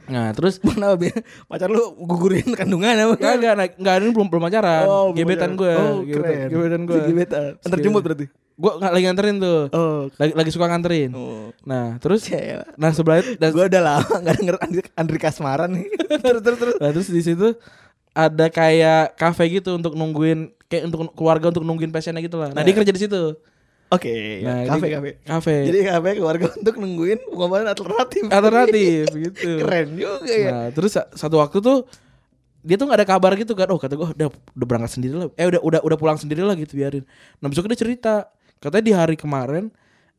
Speaker 4: Nah, terus
Speaker 2: kenapa Be? pacar lu gugurin kandungan apa
Speaker 4: Gak, gak, nah, gak, ini belum belum pacaran.
Speaker 2: Oh, belum
Speaker 4: gebetan gue,
Speaker 2: pacaran. Oh,
Speaker 4: gebetan,
Speaker 2: keren.
Speaker 4: gebetan gue.
Speaker 2: Si gebetan. Antar jemput berarti?
Speaker 4: Gue nggak lagi nganterin tuh.
Speaker 2: oh
Speaker 4: Lagi, lagi suka nganterin. Nah, terus
Speaker 2: Cewek.
Speaker 4: nah sebelah dan,
Speaker 2: gue udah lama *laughs* gak denger Andri, Andri Kasmara nih terus terus terus
Speaker 4: nah, *laughs* terus di situ ada kayak kafe gitu untuk nungguin kayak untuk keluarga untuk nungguin pasiennya gitu lah. Nah, dia kerja di situ.
Speaker 2: oke ya,
Speaker 4: Nah,
Speaker 2: Iya. kafe
Speaker 4: jadi-
Speaker 2: kafe
Speaker 4: kafe.
Speaker 2: jadi kafe keluarga *laughs* untuk nungguin pengobatan alternatif *laughs*
Speaker 4: Alternatif gitu.
Speaker 2: keren juga ya
Speaker 4: Nah, terus sa- satu waktu tuh dia tuh nggak ada kabar gitu kan. Oh, kata gue udah udah berangkat sendiri lah. Eh udah udah udah pulang sendiri lah gitu biarin. Nah, besok dia cerita. Katanya di hari kemarin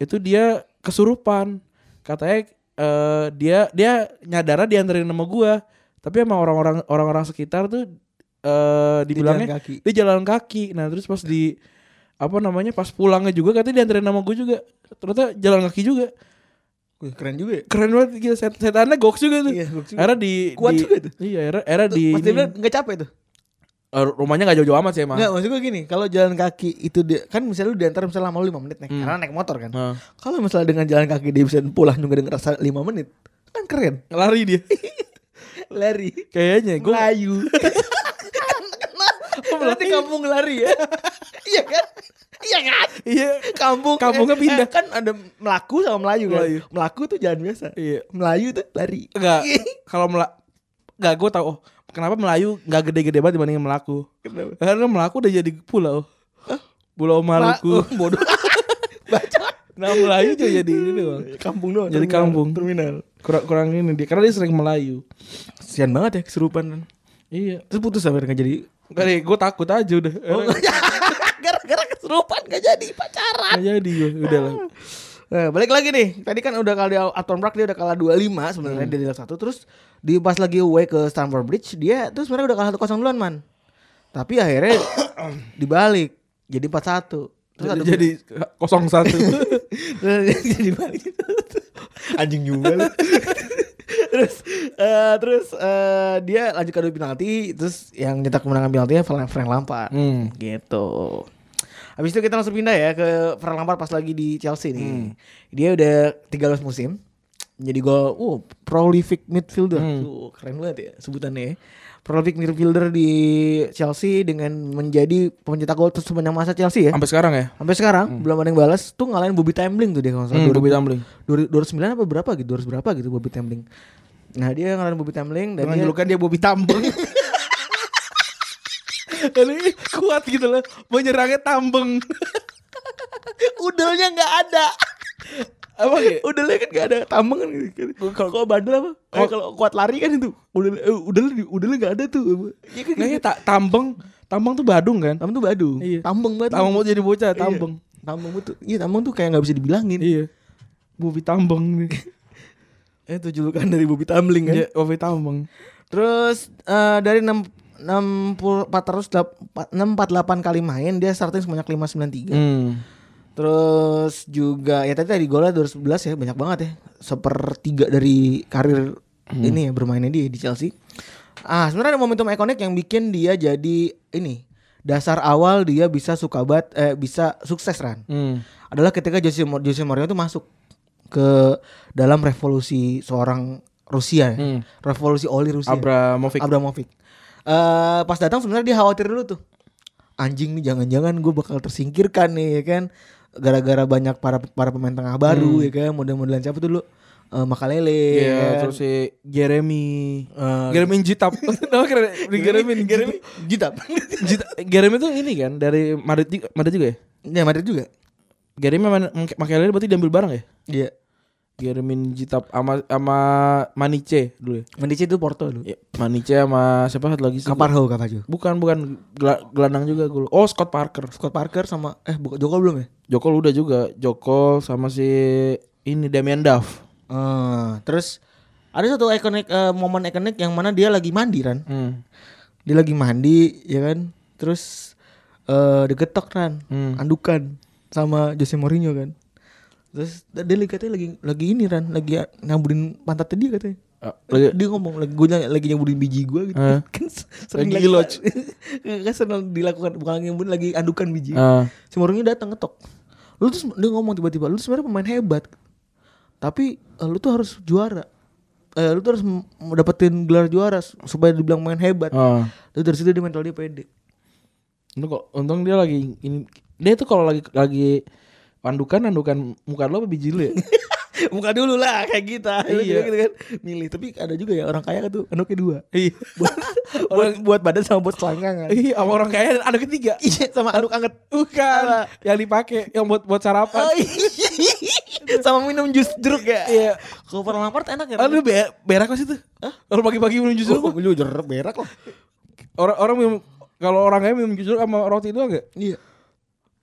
Speaker 4: itu dia kesurupan. Katanya eh, dia dia nyadara dianterin sama gua. Tapi emang orang-orang orang-orang sekitar tuh eh dibilangnya
Speaker 2: kaki
Speaker 4: dia jalan kaki. Nah, terus pas di apa namanya pas pulangnya juga katanya dianterin sama gue juga. Ternyata jalan kaki juga.
Speaker 2: Wih, keren juga ya
Speaker 4: Keren banget gila set, setannya goks juga tuh.
Speaker 2: Iya, goks juga.
Speaker 4: Era di
Speaker 2: Kuat
Speaker 4: di-
Speaker 2: juga tuh.
Speaker 4: Iya, era era
Speaker 2: Tuh,
Speaker 4: di
Speaker 2: Mas dia
Speaker 4: ini.
Speaker 2: bilang gak capek tuh
Speaker 4: Eh, rumahnya gak jauh-jauh amat sih emang.
Speaker 2: Enggak maksud gue gini Kalau jalan kaki itu dia, Kan misalnya lu diantar misalnya lama lu 5 menit naik
Speaker 4: Hmm.
Speaker 2: Karena naik motor kan
Speaker 4: Nah,
Speaker 2: Kalau misalnya dengan jalan kaki dia bisa pulang juga dengan rasa 5 menit Kan keren *laughs*
Speaker 4: lari dia.
Speaker 2: Lari
Speaker 4: *laughs*
Speaker 2: Eh,
Speaker 4: Kayaknya gue
Speaker 2: *laughs* Melayu Oh, Berarti kampung lari ya *laughs* Iya kan Iya kan
Speaker 4: iya
Speaker 2: Kampung
Speaker 4: Kampungnya
Speaker 2: eh,
Speaker 4: pindah.
Speaker 2: eh, Kan ada Melaku sama Melayu kan
Speaker 4: Melayu.
Speaker 2: Melaku tuh jalan biasa
Speaker 4: iya.
Speaker 2: Melayu tuh lari *laughs*
Speaker 4: Enggak kalau mela enggak gue tau oh, kenapa Melayu enggak gede-gede banget dibandingin Melaku.
Speaker 2: Kenapa?
Speaker 4: Karena kan Melaku udah jadi pulau. Pulau
Speaker 2: *laughs* Ma-
Speaker 4: Maluku.
Speaker 2: Oh,
Speaker 4: *laughs*
Speaker 2: Bodoh Baca
Speaker 4: Nah, Melayu juga jadi
Speaker 2: *laughs*
Speaker 4: ini doang.
Speaker 2: Kampung doang
Speaker 4: Jadi
Speaker 2: terminal.
Speaker 4: kampung.
Speaker 2: Terminal
Speaker 4: Kurang kurang ini dia karena dia sering Melayu.
Speaker 2: Kesian banget ya kesurupan
Speaker 4: Iya.
Speaker 2: Terus putus sampai gak jadi
Speaker 4: Enggak deh, gue takut aja udah.
Speaker 2: Oh.
Speaker 4: Akhirnya
Speaker 2: *laughs* Gara-gara kesurupan gak jadi pacaran
Speaker 4: nggak jadi gue udah lah.
Speaker 2: Nah, balik lagi nih. Tadi kan udah kalau di Upton Park dia udah kalah 25 sebenarnya dia di leg satu terus di pas lagi away ke Stamford Bridge dia tuh sebenarnya udah kalah 1-0 duluan, Man. Tapi akhirnya *coughs* dibalik jadi 4-1. Terus ada
Speaker 4: Jadi kosong *laughs* satu.
Speaker 2: *laughs* terus jadi balik. *laughs* Anjing juga lu. terus eh, terus eh, dia lanjut ke adu penalti terus yang nyetak kemenangan penaltinya Frank Frank Lampard
Speaker 4: Hmm.
Speaker 2: gitu. Habis itu kita langsung pindah ya ke Frank Lampard pas lagi di Chelsea nih. Dia udah 13 musim jadi gol uh prolific midfielder. Tuh, keren banget ya sebutannya. ya. Prolific midfielder di Chelsea dengan menjadi pencetak gol tersepanjang masa Chelsea ya.
Speaker 4: Sampai sekarang ya.
Speaker 2: Sampai sekarang belum ada yang balas tuh ngalahin Bobby Tambling tuh dia kalau nggak salah.
Speaker 4: Hmm,
Speaker 2: 2000
Speaker 4: Bobby Tambling.
Speaker 2: 209 apa berapa gitu 200 berapa gitu Bobby Tambling. *laughs* Nah, dia ngalahin Bobby Tambling dan
Speaker 4: *laughs*
Speaker 3: dengan
Speaker 4: gitu
Speaker 2: dia
Speaker 3: julukan dia Bobby Tambeng Ini kuat gitu loh. Menyerangnya tambeng.
Speaker 6: Udelnya nggak ada.
Speaker 3: Apa ya?
Speaker 6: Udelnya kan nggak ada. Tambang kan.
Speaker 2: gitu.
Speaker 6: Kalau kalau bandel apa?
Speaker 2: Oh.
Speaker 6: Kalau kalau kuat lari kan itu. Udel eh, udel udelnya nggak ada tuh. Iya kan.
Speaker 3: Kayaknya tak tambeng. Tambeng tuh Badung kan?
Speaker 6: Tambang tuh badu.
Speaker 2: Eh,
Speaker 3: Iya.
Speaker 6: Tambang banget.
Speaker 3: Tambeng mau jadi bocah,
Speaker 2: Iya.
Speaker 3: tambeng.
Speaker 6: Tambang tuh. Iya tambang tuh kayak nggak bisa dibilangin.
Speaker 3: Iya. Bobi tambeng nih.
Speaker 6: Eh, Itu julukan dari Bobi Tamling kan.
Speaker 3: Iya, Bobi tambeng.
Speaker 2: Terus eh, dari 6 648 kali main dia starting sebanyak 593.
Speaker 4: Hmm.
Speaker 2: Terus juga ya tadi tadi golnya 211 ya banyak banget ya. Sepertiga dari karir ini ya bermainnya dia di Chelsea. Ah, sebenarnya ada momentum ikonik yang bikin dia jadi ini dasar awal dia bisa sukabat eh bisa sukses Ran.
Speaker 4: Hmm.
Speaker 2: Adalah ketika Jose, Mo- Jose Mourinho itu masuk ke dalam revolusi seorang Rusia ya.
Speaker 4: Hmm.
Speaker 2: Revolusi oli Rusia.
Speaker 4: Abramovich.
Speaker 2: Abramovic. Eh, pas datang sebenarnya dia khawatir dulu tuh. Anjing nih jangan-jangan gue bakal tersingkirkan nih ya kan. Gara-gara banyak para para pemain tengah baru ya kan. Model-modelan siapa dulu? Eh Makalele.
Speaker 4: Iya,
Speaker 2: ya kan?
Speaker 4: terus si Jeremy.
Speaker 2: Eh,
Speaker 4: Jeremy Jitap. *laughs* Nama keren. Jeremy Jeremy
Speaker 2: *laughs* Jitap.
Speaker 4: Jita- Jeremy tuh ini kan dari Madrid juga, Madrid juga ya?
Speaker 2: ya Madrid juga.
Speaker 4: Jeremy Man- M- Makelele berarti diambil bareng ya?
Speaker 2: Iya.
Speaker 4: Jeremy Jitap sama sama Manice dulu ya.
Speaker 2: Mendici itu Porto dulu. oh,
Speaker 4: Ya, Manice sama siapa satu lagi sih?
Speaker 2: Kaparho, Kapajo.
Speaker 4: Bukan, bukan Gela- gelandang juga gue. lupa. Oh, Scott Parker.
Speaker 2: Scott Parker sama eh bukan Joko belum ya?
Speaker 4: Joko udah juga. Joko sama si ini Damian Duff.
Speaker 2: Eh, terus ada satu ikonik eh, momen ikonik yang mana dia lagi mandi Ran.
Speaker 4: Hmm.
Speaker 2: dia lagi mandi ya kan terus eh digetok kan
Speaker 4: Hmm.
Speaker 2: andukan sama Jose Mourinho kan terus dia lagi katanya lagi lagi ini ran lagi nyambulin pantatnya dia katanya
Speaker 4: Ah, lagi-
Speaker 2: dia ngomong lagi gue lagi nyambulin biji gue gitu
Speaker 4: Eh.
Speaker 2: *laughs* kan s- sering
Speaker 4: Lagi
Speaker 2: *laughs*
Speaker 4: iloj.
Speaker 2: kan sering dilakukan bukan lagi nyambulin lagi andukan biji
Speaker 4: Ah.
Speaker 2: si Mourinho datang ngetok lu terus dia ngomong tiba-tiba lu tuh sebenarnya pemain hebat tapi eh, lu tuh harus juara Eh, lu tuh harus m- dapetin gelar juara s- supaya dibilang pemain hebat
Speaker 4: Ah.
Speaker 2: Terus dari situ dia mental dia *laughs* pede.
Speaker 4: Untung, kok- untung dia lagi ini dia tuh kalau lagi lagi andukan andukan muka lo apa biji lu ya?
Speaker 2: Muka dulu lah kayak kita. Lu
Speaker 4: Iya.
Speaker 2: juga gitu kan. Milih. Tapi ada juga ya orang kaya tuh anaknya dua. Eh,
Speaker 4: Iya.
Speaker 2: *laughs* buat, buat, buat badan sama buat selangkangan. *laughs*
Speaker 4: Iya, sama orang kaya dan ada ketiga.
Speaker 2: Iya sama aduk anget.
Speaker 4: Bukan
Speaker 2: Apa?
Speaker 4: yang dipakai yang buat buat sarapan.
Speaker 2: Oh, iya. *laughs* sama minum jus jeruk ya.
Speaker 4: Iya.
Speaker 2: Kalau pernah lapar enak ya.
Speaker 4: Aduh be- berak pasti tuh. Orang pagi-pagi minum jus
Speaker 2: Oh,
Speaker 4: jeruk.
Speaker 2: lu jeruk berak lah.
Speaker 4: Orang orang minum kalau orang kaya minum jus jeruk sama roti doang enggak?
Speaker 2: Iya.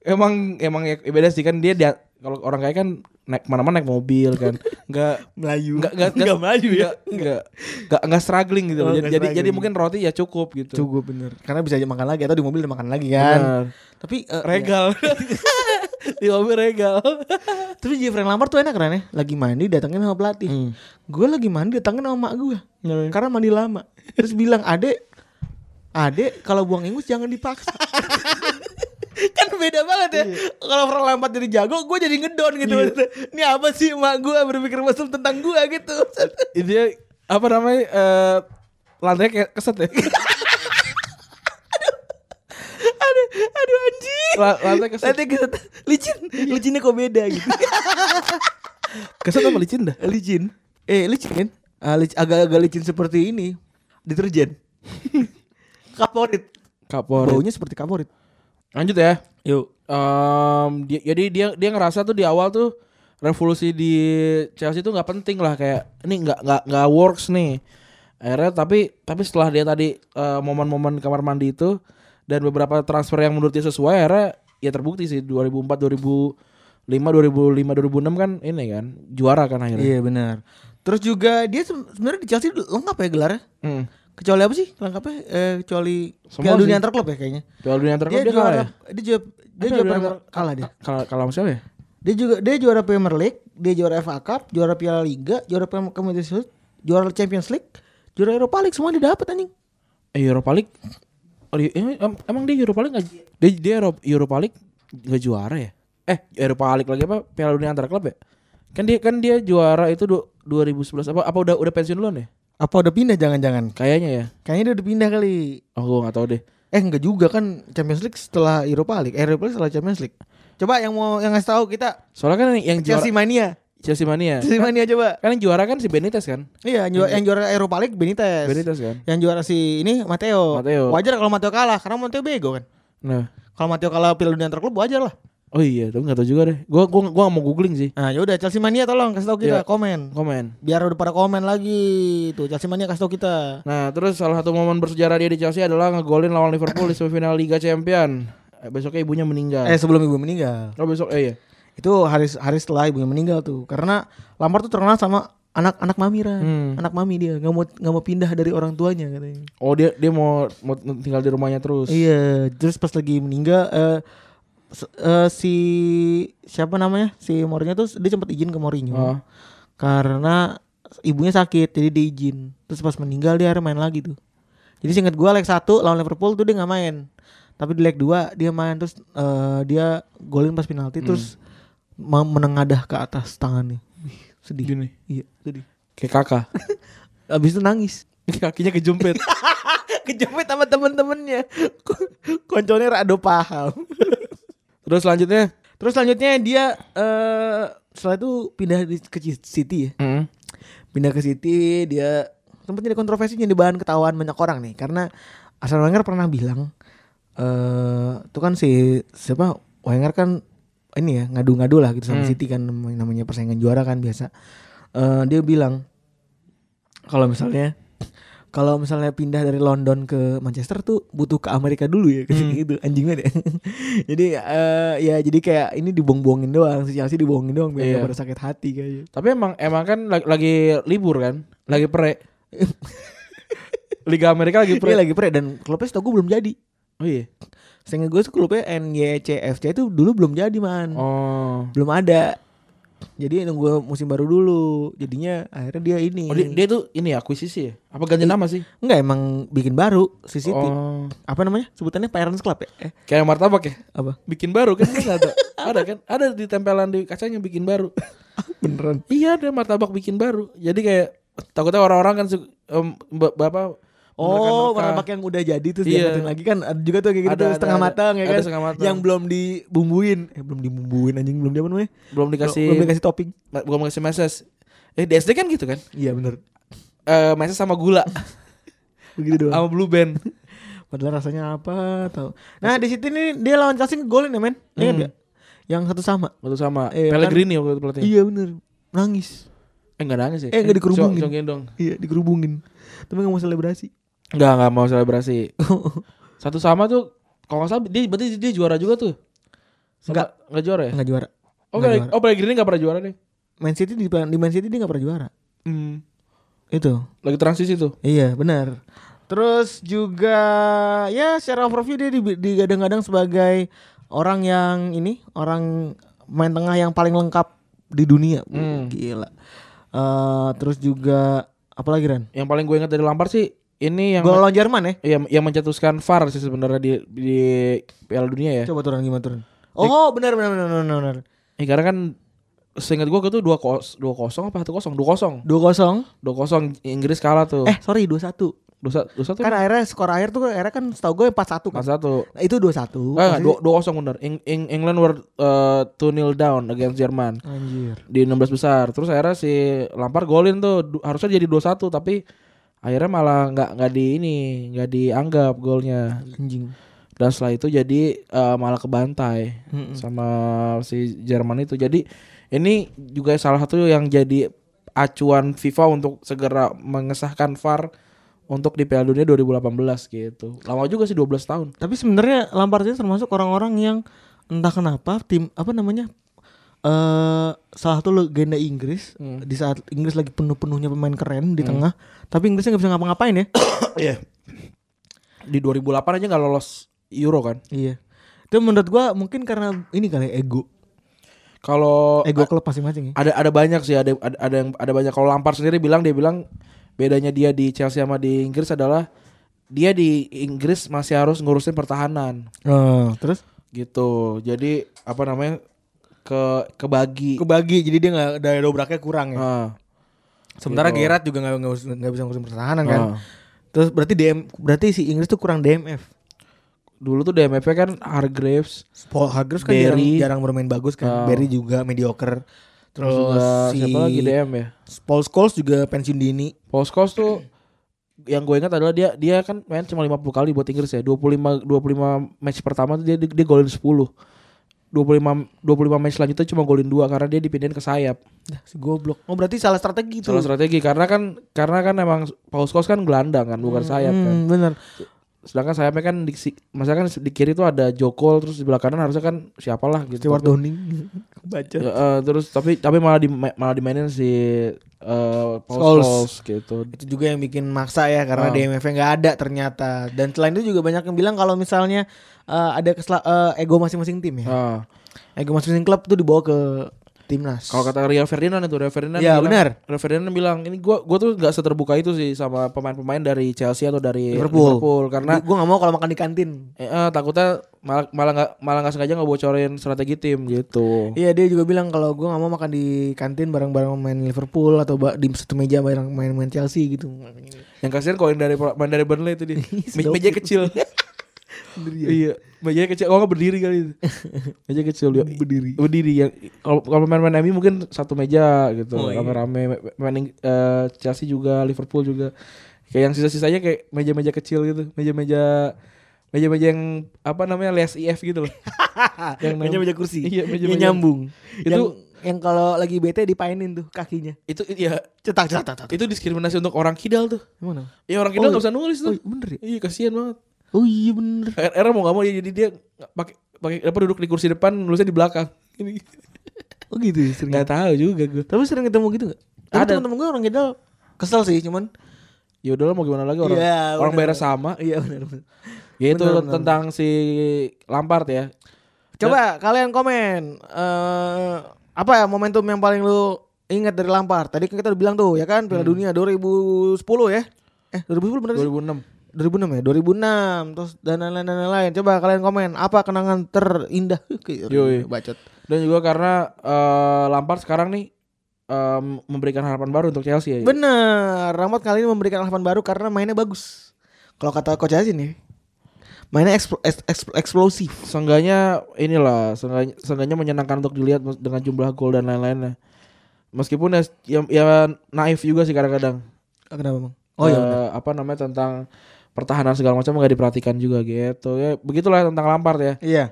Speaker 4: Emang emang ya, beda sih kan dia dia- kalau orang kaya kan naik mana-mana naik mobil kan. Enggak
Speaker 2: Melayu.
Speaker 4: enggak enggak enggak maju ya. Enggak enggak enggak struggling gitu.
Speaker 2: Oh,
Speaker 4: loh. jadi
Speaker 2: nggak
Speaker 4: jadi, jadi
Speaker 2: struggling.
Speaker 4: mungkin roti ya cukup gitu.
Speaker 2: Cukup bener. Karena bisa aja makan lagi atau di mobil dimakan lagi kan.
Speaker 4: Benar.
Speaker 2: Tapi eh, *laughs*
Speaker 4: Regal. Di mobil regal.
Speaker 2: iya. Tapi Jeffrey Lampard tuh enak kan ya. Lagi mandi datangin sama pelatih. Gue lagi mandi datangin sama mak gue. Karena mandi lama. Terus bilang, "Adek, Adek kalau buang ingus jangan dipaksa." *laughs* kan beda banget ya. Kalau orang lampat jadi jago, gue jadi ngedon gitu. Ini apa sih emak gue berpikir mesum tentang gue gitu.
Speaker 4: Dia apa namanya eh lantai kayak keset ya. *laughs*
Speaker 2: *laughs* aduh, aduh anjing.
Speaker 4: La- Lantai Iya. keset.
Speaker 2: Nanti keset, licin, licinnya kok beda
Speaker 4: *laughs*
Speaker 2: gitu.
Speaker 4: Keset apa licin dah?
Speaker 2: licin. Eh, licin kan? Ah, lic- agak-agak licin seperti ini.
Speaker 4: *laughs*
Speaker 2: Deterjen. kaporit.
Speaker 4: Kapolri.
Speaker 2: Baunya seperti kaporit.
Speaker 4: Lanjut ya.
Speaker 2: Yuk.
Speaker 4: Em, dia, jadi dia dia ngerasa tuh di awal tuh revolusi di Chelsea tuh nggak penting lah kayak ini nggak nggak nggak works nih. Akhirnya tapi tapi setelah dia tadi eh, momen-momen kamar mandi itu dan beberapa transfer yang menurut dia sesuai akhirnya ya terbukti sih 2004 2005 2005 2006 kan ini kan juara kan akhirnya.
Speaker 2: Iya benar. Terus juga dia se- sebenarnya di Chelsea lengkap ya gelarnya.
Speaker 4: Hmm.
Speaker 2: Kecuali apa sih lengkapnya? Eh, kecuali
Speaker 4: Semua
Speaker 2: Piala Dunia
Speaker 4: sih.
Speaker 2: Antar Klub ya kayaknya.
Speaker 4: Piala dunia antar klub
Speaker 2: Dia,
Speaker 4: dia
Speaker 2: juara.
Speaker 4: kalah ya?
Speaker 2: Dia juga dia
Speaker 4: Piala
Speaker 2: juga
Speaker 4: Dunia
Speaker 2: pernah
Speaker 4: Antar-
Speaker 2: kalah dia.
Speaker 4: Kalah kalah sama siapa ya?
Speaker 2: Dia juga dia juara Premier League, dia juara FA Cup, juara Piala Liga, juara Prem- Community Shield, juara Champions League, juara Europa League semua dia dapat anjing.
Speaker 4: Eh, Europa League Oh, dia- em- em- emang dia Europa League nggak- dia dia Euro- Europa League nggak juara ya? Eh Europa League lagi apa Piala Dunia antar klub ya? Kan dia kan dia juara itu du- 2011 apa apa udah udah pensiun duluan ya?
Speaker 2: Apa udah pindah jangan-jangan?
Speaker 4: Kayaknya ya.
Speaker 2: Kayaknya dia udah pindah kali.
Speaker 4: Oh gua nggak tahu deh.
Speaker 2: Eh enggak juga kan Champions League setelah Europa League, eh, Europa League setelah Champions League. Coba yang mau yang ngasih tahu kita
Speaker 4: Soalnya kan yang, yang juara
Speaker 2: Chelsea mania.
Speaker 4: Chelsea, Chelsea Mania.
Speaker 2: Si mana coba?
Speaker 4: Kan yang juara kan si Benitez kan?
Speaker 2: Iya, yang juara, yang juara Eropa League Benitez.
Speaker 4: Benitez kan?
Speaker 2: Yang juara si ini Mateo.
Speaker 4: Matteo.
Speaker 2: Wajar kalau Mateo kalah karena Mateo bego kan.
Speaker 4: Nah.
Speaker 2: Kalau Mateo kalah Piala Dunia antar klub wajar lah.
Speaker 4: Oh iya, tapi nggak tahu juga deh. Gua gua gua nggak mau googling sih.
Speaker 2: Nah, yaudah Chelsea Mania tolong kasih tahu kita
Speaker 4: Iya.
Speaker 2: komen.
Speaker 4: Komen.
Speaker 2: Biar udah pada komen lagi. Tuh Chelsea Mania kasih tahu kita.
Speaker 4: Nah, terus salah satu momen bersejarah dia di Chelsea adalah ngegolin lawan Liverpool di semifinal Liga Champion. Eh, Besoknya ibunya meninggal.
Speaker 2: Eh sebelum ibu meninggal.
Speaker 4: Oh besok eh iya.
Speaker 2: Itu hari hari setelah ibunya meninggal tuh. Karena Lampard tuh terkenal sama anak-anak mami Ran.
Speaker 4: Hmm.
Speaker 2: Anak mami dia nggak mau nggak mau pindah dari orang tuanya katanya.
Speaker 4: Oh dia dia mau, mau tinggal di rumahnya terus.
Speaker 2: Iya, terus pas lagi meninggal eh s- eh, si siapa namanya? Si Mourinho tuh dia sempat izin ke Mourinho.
Speaker 4: Oh.
Speaker 2: Karena ibunya sakit jadi diizin. Terus pas meninggal dia akhirnya main lagi tuh. Jadi singkat gua leg 1 lawan Liverpool tuh dia nggak main. Tapi di leg 2 dia main terus eh, dia golin pas penalti
Speaker 4: Hmm.
Speaker 2: terus me- menengadah ke atas tangannya. Wih, sedih.
Speaker 4: Gini.
Speaker 2: Iya, sedih.
Speaker 4: Kayak *laughs* kakak.
Speaker 2: Abis itu nangis.
Speaker 4: Kakinya kejumpet.
Speaker 2: *laughs* Kejepit sama temen-temennya. Konconnya rado paham.
Speaker 4: *laughs*
Speaker 2: *laughs*
Speaker 4: terus selanjutnya
Speaker 2: Terus selanjutnya dia eh setelah itu pindah di, ke City ya.
Speaker 4: Mm.
Speaker 2: Pindah ke City dia sempat jadi kontroversi jadi bahan ketawaan banyak orang nih karena Arsene Wenger pernah bilang eh itu kan si siapa Wenger kan ini ya ngadu-ngadu lah gitu sama
Speaker 4: Hmm.
Speaker 2: City kan nam- namanya persaingan juara kan biasa. Eh dia bilang kalau misalnya kalau misalnya pindah dari London ke Manchester tuh butuh ke Amerika dulu ya *laughs* kayak
Speaker 4: Hmm.
Speaker 2: gitu anjingnya deh. jadi eh, ya jadi kayak ini dibohong-bohongin doang si Chelsea dibohongin doang biar
Speaker 4: Iya.
Speaker 2: nggak pada sakit hati kayaknya.
Speaker 4: Tapi emang emang kan lagi, lagi libur kan? Lagi *laughs* pre. Liga Amerika Iya, lagi
Speaker 2: Dia
Speaker 4: pre.
Speaker 2: lagi pre dan klubnya setahu gue belum jadi.
Speaker 4: Oh iya.
Speaker 2: Seingat gue tuh klubnya NYCFC itu dulu belum jadi man.
Speaker 4: Oh.
Speaker 2: Belum ada. Jadi nunggu musim baru dulu. Jadinya akhirnya dia ini.
Speaker 4: Oh, dia, dia tuh ini ya akuisisi ya? Apa ganti nama sih?
Speaker 2: Enggak emang bikin baru si City.
Speaker 4: Oh.
Speaker 2: Apa namanya? Sebutannya Parents Club ya? Eh,
Speaker 4: Kayak martabak ya?
Speaker 2: apa?
Speaker 4: Bikin baru kan Kan *laughs* ada. ada kan? Ada di tempelan di kacanya bikin *laughs* baru.
Speaker 2: Beneran.
Speaker 4: iya, ada martabak bikin baru. Jadi kayak takutnya orang-orang kan su- em, ba- bapak
Speaker 2: Oh,
Speaker 4: mereka-mereka.
Speaker 2: martabak yang udah jadi terus
Speaker 4: Iya.
Speaker 2: diangkatin lagi kan ada juga tuh kayak gitu
Speaker 4: Ada,
Speaker 2: tuh,
Speaker 4: ada,
Speaker 2: setengah
Speaker 4: ada.
Speaker 2: matang ya
Speaker 4: Ada
Speaker 2: kan.
Speaker 4: setengah matang.
Speaker 2: Yang belum dibumbuin. Eh, belum dibumbuin anjing belum dia apa namanya?
Speaker 4: belum dikasih
Speaker 2: Belum dikasih topping.
Speaker 4: ma- belum dikasih meses. Eh di SD kan gitu kan?
Speaker 2: Iya bener
Speaker 4: Eh meses sama *laughs* gula
Speaker 2: Begitu doang.
Speaker 4: sama blue band.
Speaker 2: Padahal rasanya apa tahu. Nah, di situ nih dia lawan Chelsea golin ya, men. Ingat
Speaker 4: Hmm.
Speaker 2: nggak? Yang satu sama.
Speaker 4: *laughs* Waktu sama
Speaker 2: Iya, kan?
Speaker 4: Pellegrini waktu itu pelatihnya.
Speaker 2: Iya bener Nangis
Speaker 4: Eh enggak nangis ya?
Speaker 2: Eh, nggak dikerubungin.
Speaker 4: Cong- congkin dong.
Speaker 2: Iya dikerubungin Tapi gak mau selebrasi
Speaker 4: Enggak enggak mau selebrasi. *laughs* Satu sama tuh kalau enggak salah dia berarti dia juara juga tuh.
Speaker 2: Nggak.
Speaker 4: Enggak enggak juara ya?
Speaker 2: Gak juara
Speaker 4: Oh,
Speaker 2: nggak
Speaker 4: Pele- oh Pellegrini enggak pernah juara deh.
Speaker 2: Man City di, di Man City dia gak pernah juara
Speaker 4: Hmm.
Speaker 2: Itu
Speaker 4: Lagi transisi tuh.
Speaker 2: Iya benar. Terus juga ya secara overview dia di- digadang-gadang sebagai orang yang ini orang main tengah yang paling lengkap di dunia. Wih, Gila. Eh, terus juga apa lagi Ran?
Speaker 4: Yang paling gue ingat dari Lampard sih ini yang
Speaker 2: Gol lawan Jerman ya?
Speaker 4: yang, yang mencetuskan VAR sih sebenarnya di di Piala Dunia ya.
Speaker 2: Coba turun gimana turun? Oh benar benar benar benar benar.
Speaker 4: Eh, karena kan seingat gue itu 2 kos 2 kosong apa 1 kosong 2 kosong
Speaker 2: 2-0.
Speaker 4: 2 kosong Inggris kalah tuh
Speaker 2: Eh sorry 2-1.
Speaker 4: 2 1
Speaker 2: Kan akhirnya skor akhir tuh akhirnya kan setahu gue 4-1 kan.
Speaker 4: 1
Speaker 2: Nah, itu 2-1.
Speaker 4: Ah,
Speaker 2: Maksudnya-
Speaker 4: dua dua kosong bener. Eng- Eng- England were uh, two nil down against Jerman
Speaker 2: Anjir.
Speaker 4: di 16 besar. Terus akhirnya si Lampard golin tuh Du- harusnya jadi 2-1 tapi akhirnya malah nggak nggak di ini nggak dianggap golnya
Speaker 2: Anjing.
Speaker 4: dan setelah itu jadi uh, malah kebantai sama si Jerman itu jadi ini juga salah satu yang jadi acuan FIFA untuk segera mengesahkan VAR untuk di Piala Dunia 2018 gitu lama juga sih 12 tahun
Speaker 2: Tapi sebenarnya Lampard ini termasuk orang-orang yang entah kenapa tim apa namanya eh salah satu legenda Inggris
Speaker 4: Hmm.
Speaker 2: di saat Inggris lagi penuh-penuhnya pemain keren di tengah, tapi Inggrisnya nggak bisa ngapa-ngapain
Speaker 4: *coughs*
Speaker 2: ya.
Speaker 4: Iya. Di 2008 aja nggak lolos Euro kan.
Speaker 2: iya. Itu menurut gua mungkin karena ini kali ya, ego,
Speaker 4: Kalau
Speaker 2: ego klub masing-masing. Ya.
Speaker 4: ada ada banyak sih ada ada, ada yang ada banyak kalau Lampard sendiri bilang dia bilang bedanya dia di Chelsea sama di Inggris adalah dia di Inggris masih harus ngurusin pertahanan
Speaker 2: Oh, terus
Speaker 4: gitu. Jadi apa namanya ke kebagi.
Speaker 2: kebagi jadi dia nggak daya dobraknya kurang ya.
Speaker 4: Ah,
Speaker 2: Sementara
Speaker 4: Gitu.
Speaker 2: Gerrard juga nggak nggak us- nggak bisa ngurusin pertahanan kan.
Speaker 4: Ah.
Speaker 2: Terus berarti DM berarti si Inggris tuh kurang DMF.
Speaker 4: dulu tuh DMF kan Hargreaves
Speaker 2: Paul Hargreaves kan jarang,
Speaker 4: Barry.
Speaker 2: jarang bermain bagus kan. Barry juga mediocre. Terus juga
Speaker 4: Ah. Juga
Speaker 2: si
Speaker 4: siapa lagi DM ya?
Speaker 2: Paul Scholes juga pensiun dini.
Speaker 4: Poskos tuh yang gue ingat adalah dia dia kan main cuma 50 kali buat Inggris ya. 25 25 match pertama tuh dia dia golin 10. 25 25 match selanjutnya cuma golin 2 karena dia dipindahin ke sayap.
Speaker 2: Dah, si goblok. Oh berarti salah strategi itu.
Speaker 4: Salah strategi karena kan karena kan emang Poskos kan gelandang kan bukan sayap kan.
Speaker 2: Hmm, bener.
Speaker 4: Sedangkan sayapnya kan di si- maksudnya kan di kiri tuh ada Jokol terus di belah kanan harusnya kan siapalah gitu.
Speaker 2: Stewart
Speaker 4: Tapi-
Speaker 2: Downing. *laughs* Baca.
Speaker 4: Ya, eh, terus tapi tapi malah di malah dimainin si eh
Speaker 2: Scholes.
Speaker 4: Paul Scholes gitu.
Speaker 2: Itu juga yang bikin maksa ya karena
Speaker 4: Ah.
Speaker 2: DMF nggak ada ternyata. Dan selain itu juga banyak yang bilang kalau misalnya eh, ada kesela- eh, ego masing-masing tim ya.
Speaker 4: Ah,
Speaker 2: Ego masing-masing klub tuh dibawa ke timnas.
Speaker 4: kalau kata Rio Ferdinand itu Rio Ferdinand
Speaker 2: Ya,
Speaker 4: bilang-
Speaker 2: benar.
Speaker 4: Rio Ferdinand bilang ini gua gua tuh nggak seterbuka itu sih sama pemain-pemain dari Chelsea atau dari
Speaker 2: Iya, Liverpool.
Speaker 4: karena
Speaker 2: gue nggak mau kalau makan di kantin.
Speaker 4: eh, eh, takutnya malah malah nggak malah nggak sengaja ngebocorin strategi tim gitu.
Speaker 2: Iya dia juga bilang kalau gue nggak mau makan di kantin bareng-bareng main Liverpool atau ba- di satu meja bareng main-main Chelsea gitu.
Speaker 4: Yang kasihan kalau yang dari main dari Burnley itu dia. Me- meja kecil. iya, meja kecil. Oh, nggak berdiri kali itu. Meja kecil dia. Berdiri. Berdiri yang kalau kalau main-main MU mungkin satu meja gitu, rame-rame. Main eh, Chelsea juga, Liverpool juga. Kayak yang sisa-sisanya kayak meja-meja kecil gitu, meja-meja meja-meja yang apa namanya les IF gitu loh. yang
Speaker 2: Ah,
Speaker 4: nam-
Speaker 2: Meja-meja kursi.
Speaker 4: Iya, meja-meja
Speaker 2: Yang nyambung.
Speaker 4: Itu
Speaker 2: yang, yang kalau lagi bete dipainin tuh kakinya.
Speaker 4: itu iya
Speaker 2: Cetak cetak cetak.
Speaker 4: itu diskriminasi untuk orang kidal tuh.
Speaker 2: Emang kenapa?
Speaker 4: Ya orang kidal
Speaker 2: Oh,
Speaker 4: nggak bisa nulis
Speaker 2: Oh,
Speaker 4: tuh.
Speaker 2: iya, bener ya?
Speaker 4: Iya kasihan banget.
Speaker 2: Oh iya bener.
Speaker 4: Er Era mau gak mau jadi dia nggak pakai pakai apa duduk di kursi depan nulisnya di belakang. Ini
Speaker 2: Oh gitu ya, sering.
Speaker 4: nggak tahu juga gue.
Speaker 2: Tapi sering ketemu gitu gak? Tapi
Speaker 4: Ada.
Speaker 2: temen-temen gue orang Jedal kesel sih cuman
Speaker 4: Ya udahlah mau gimana lagi orang
Speaker 2: Iya,
Speaker 4: orang
Speaker 2: bener.
Speaker 4: bayar sama.
Speaker 2: Iya bener bener
Speaker 4: Yaitu
Speaker 2: Bener, bener.
Speaker 4: tentang si Lampard ya.
Speaker 2: Coba kalian komen eh Apa ya momentum yang paling lu ingat dari Lampard Tadi kan kita udah bilang tuh ya kan Piala Dunia 2010 ya Eh 2010 bener sih?
Speaker 4: 2006.
Speaker 2: 2006 ya 2006 Terus dan lain-lain dan lain-lain Coba kalian komen Apa kenangan terindah *laughs* Kayak gitu.
Speaker 4: Yoi.
Speaker 2: Bacot
Speaker 4: Dan juga karena eh, Lampard sekarang nih em, memberikan harapan baru untuk Chelsea ya.
Speaker 2: Bener Ramot kali ini memberikan harapan baru Karena mainnya bagus Kalau kata Coach Azin ya Mainnya ekspl- eks- eks- eksplosif
Speaker 4: Seenggaknya inilah seenggaknya, seenggaknya menyenangkan untuk dilihat dengan jumlah gol dan lain-lainnya. Meskipun ya, ya, ya naif juga sih kadang-kadang.
Speaker 2: Ah, Kenapa bang? Oh iya
Speaker 4: eh,
Speaker 2: bener.
Speaker 4: apa namanya tentang pertahanan segala macam nggak diperhatikan juga gitu ya begitulah tentang Lampard ya
Speaker 2: Iya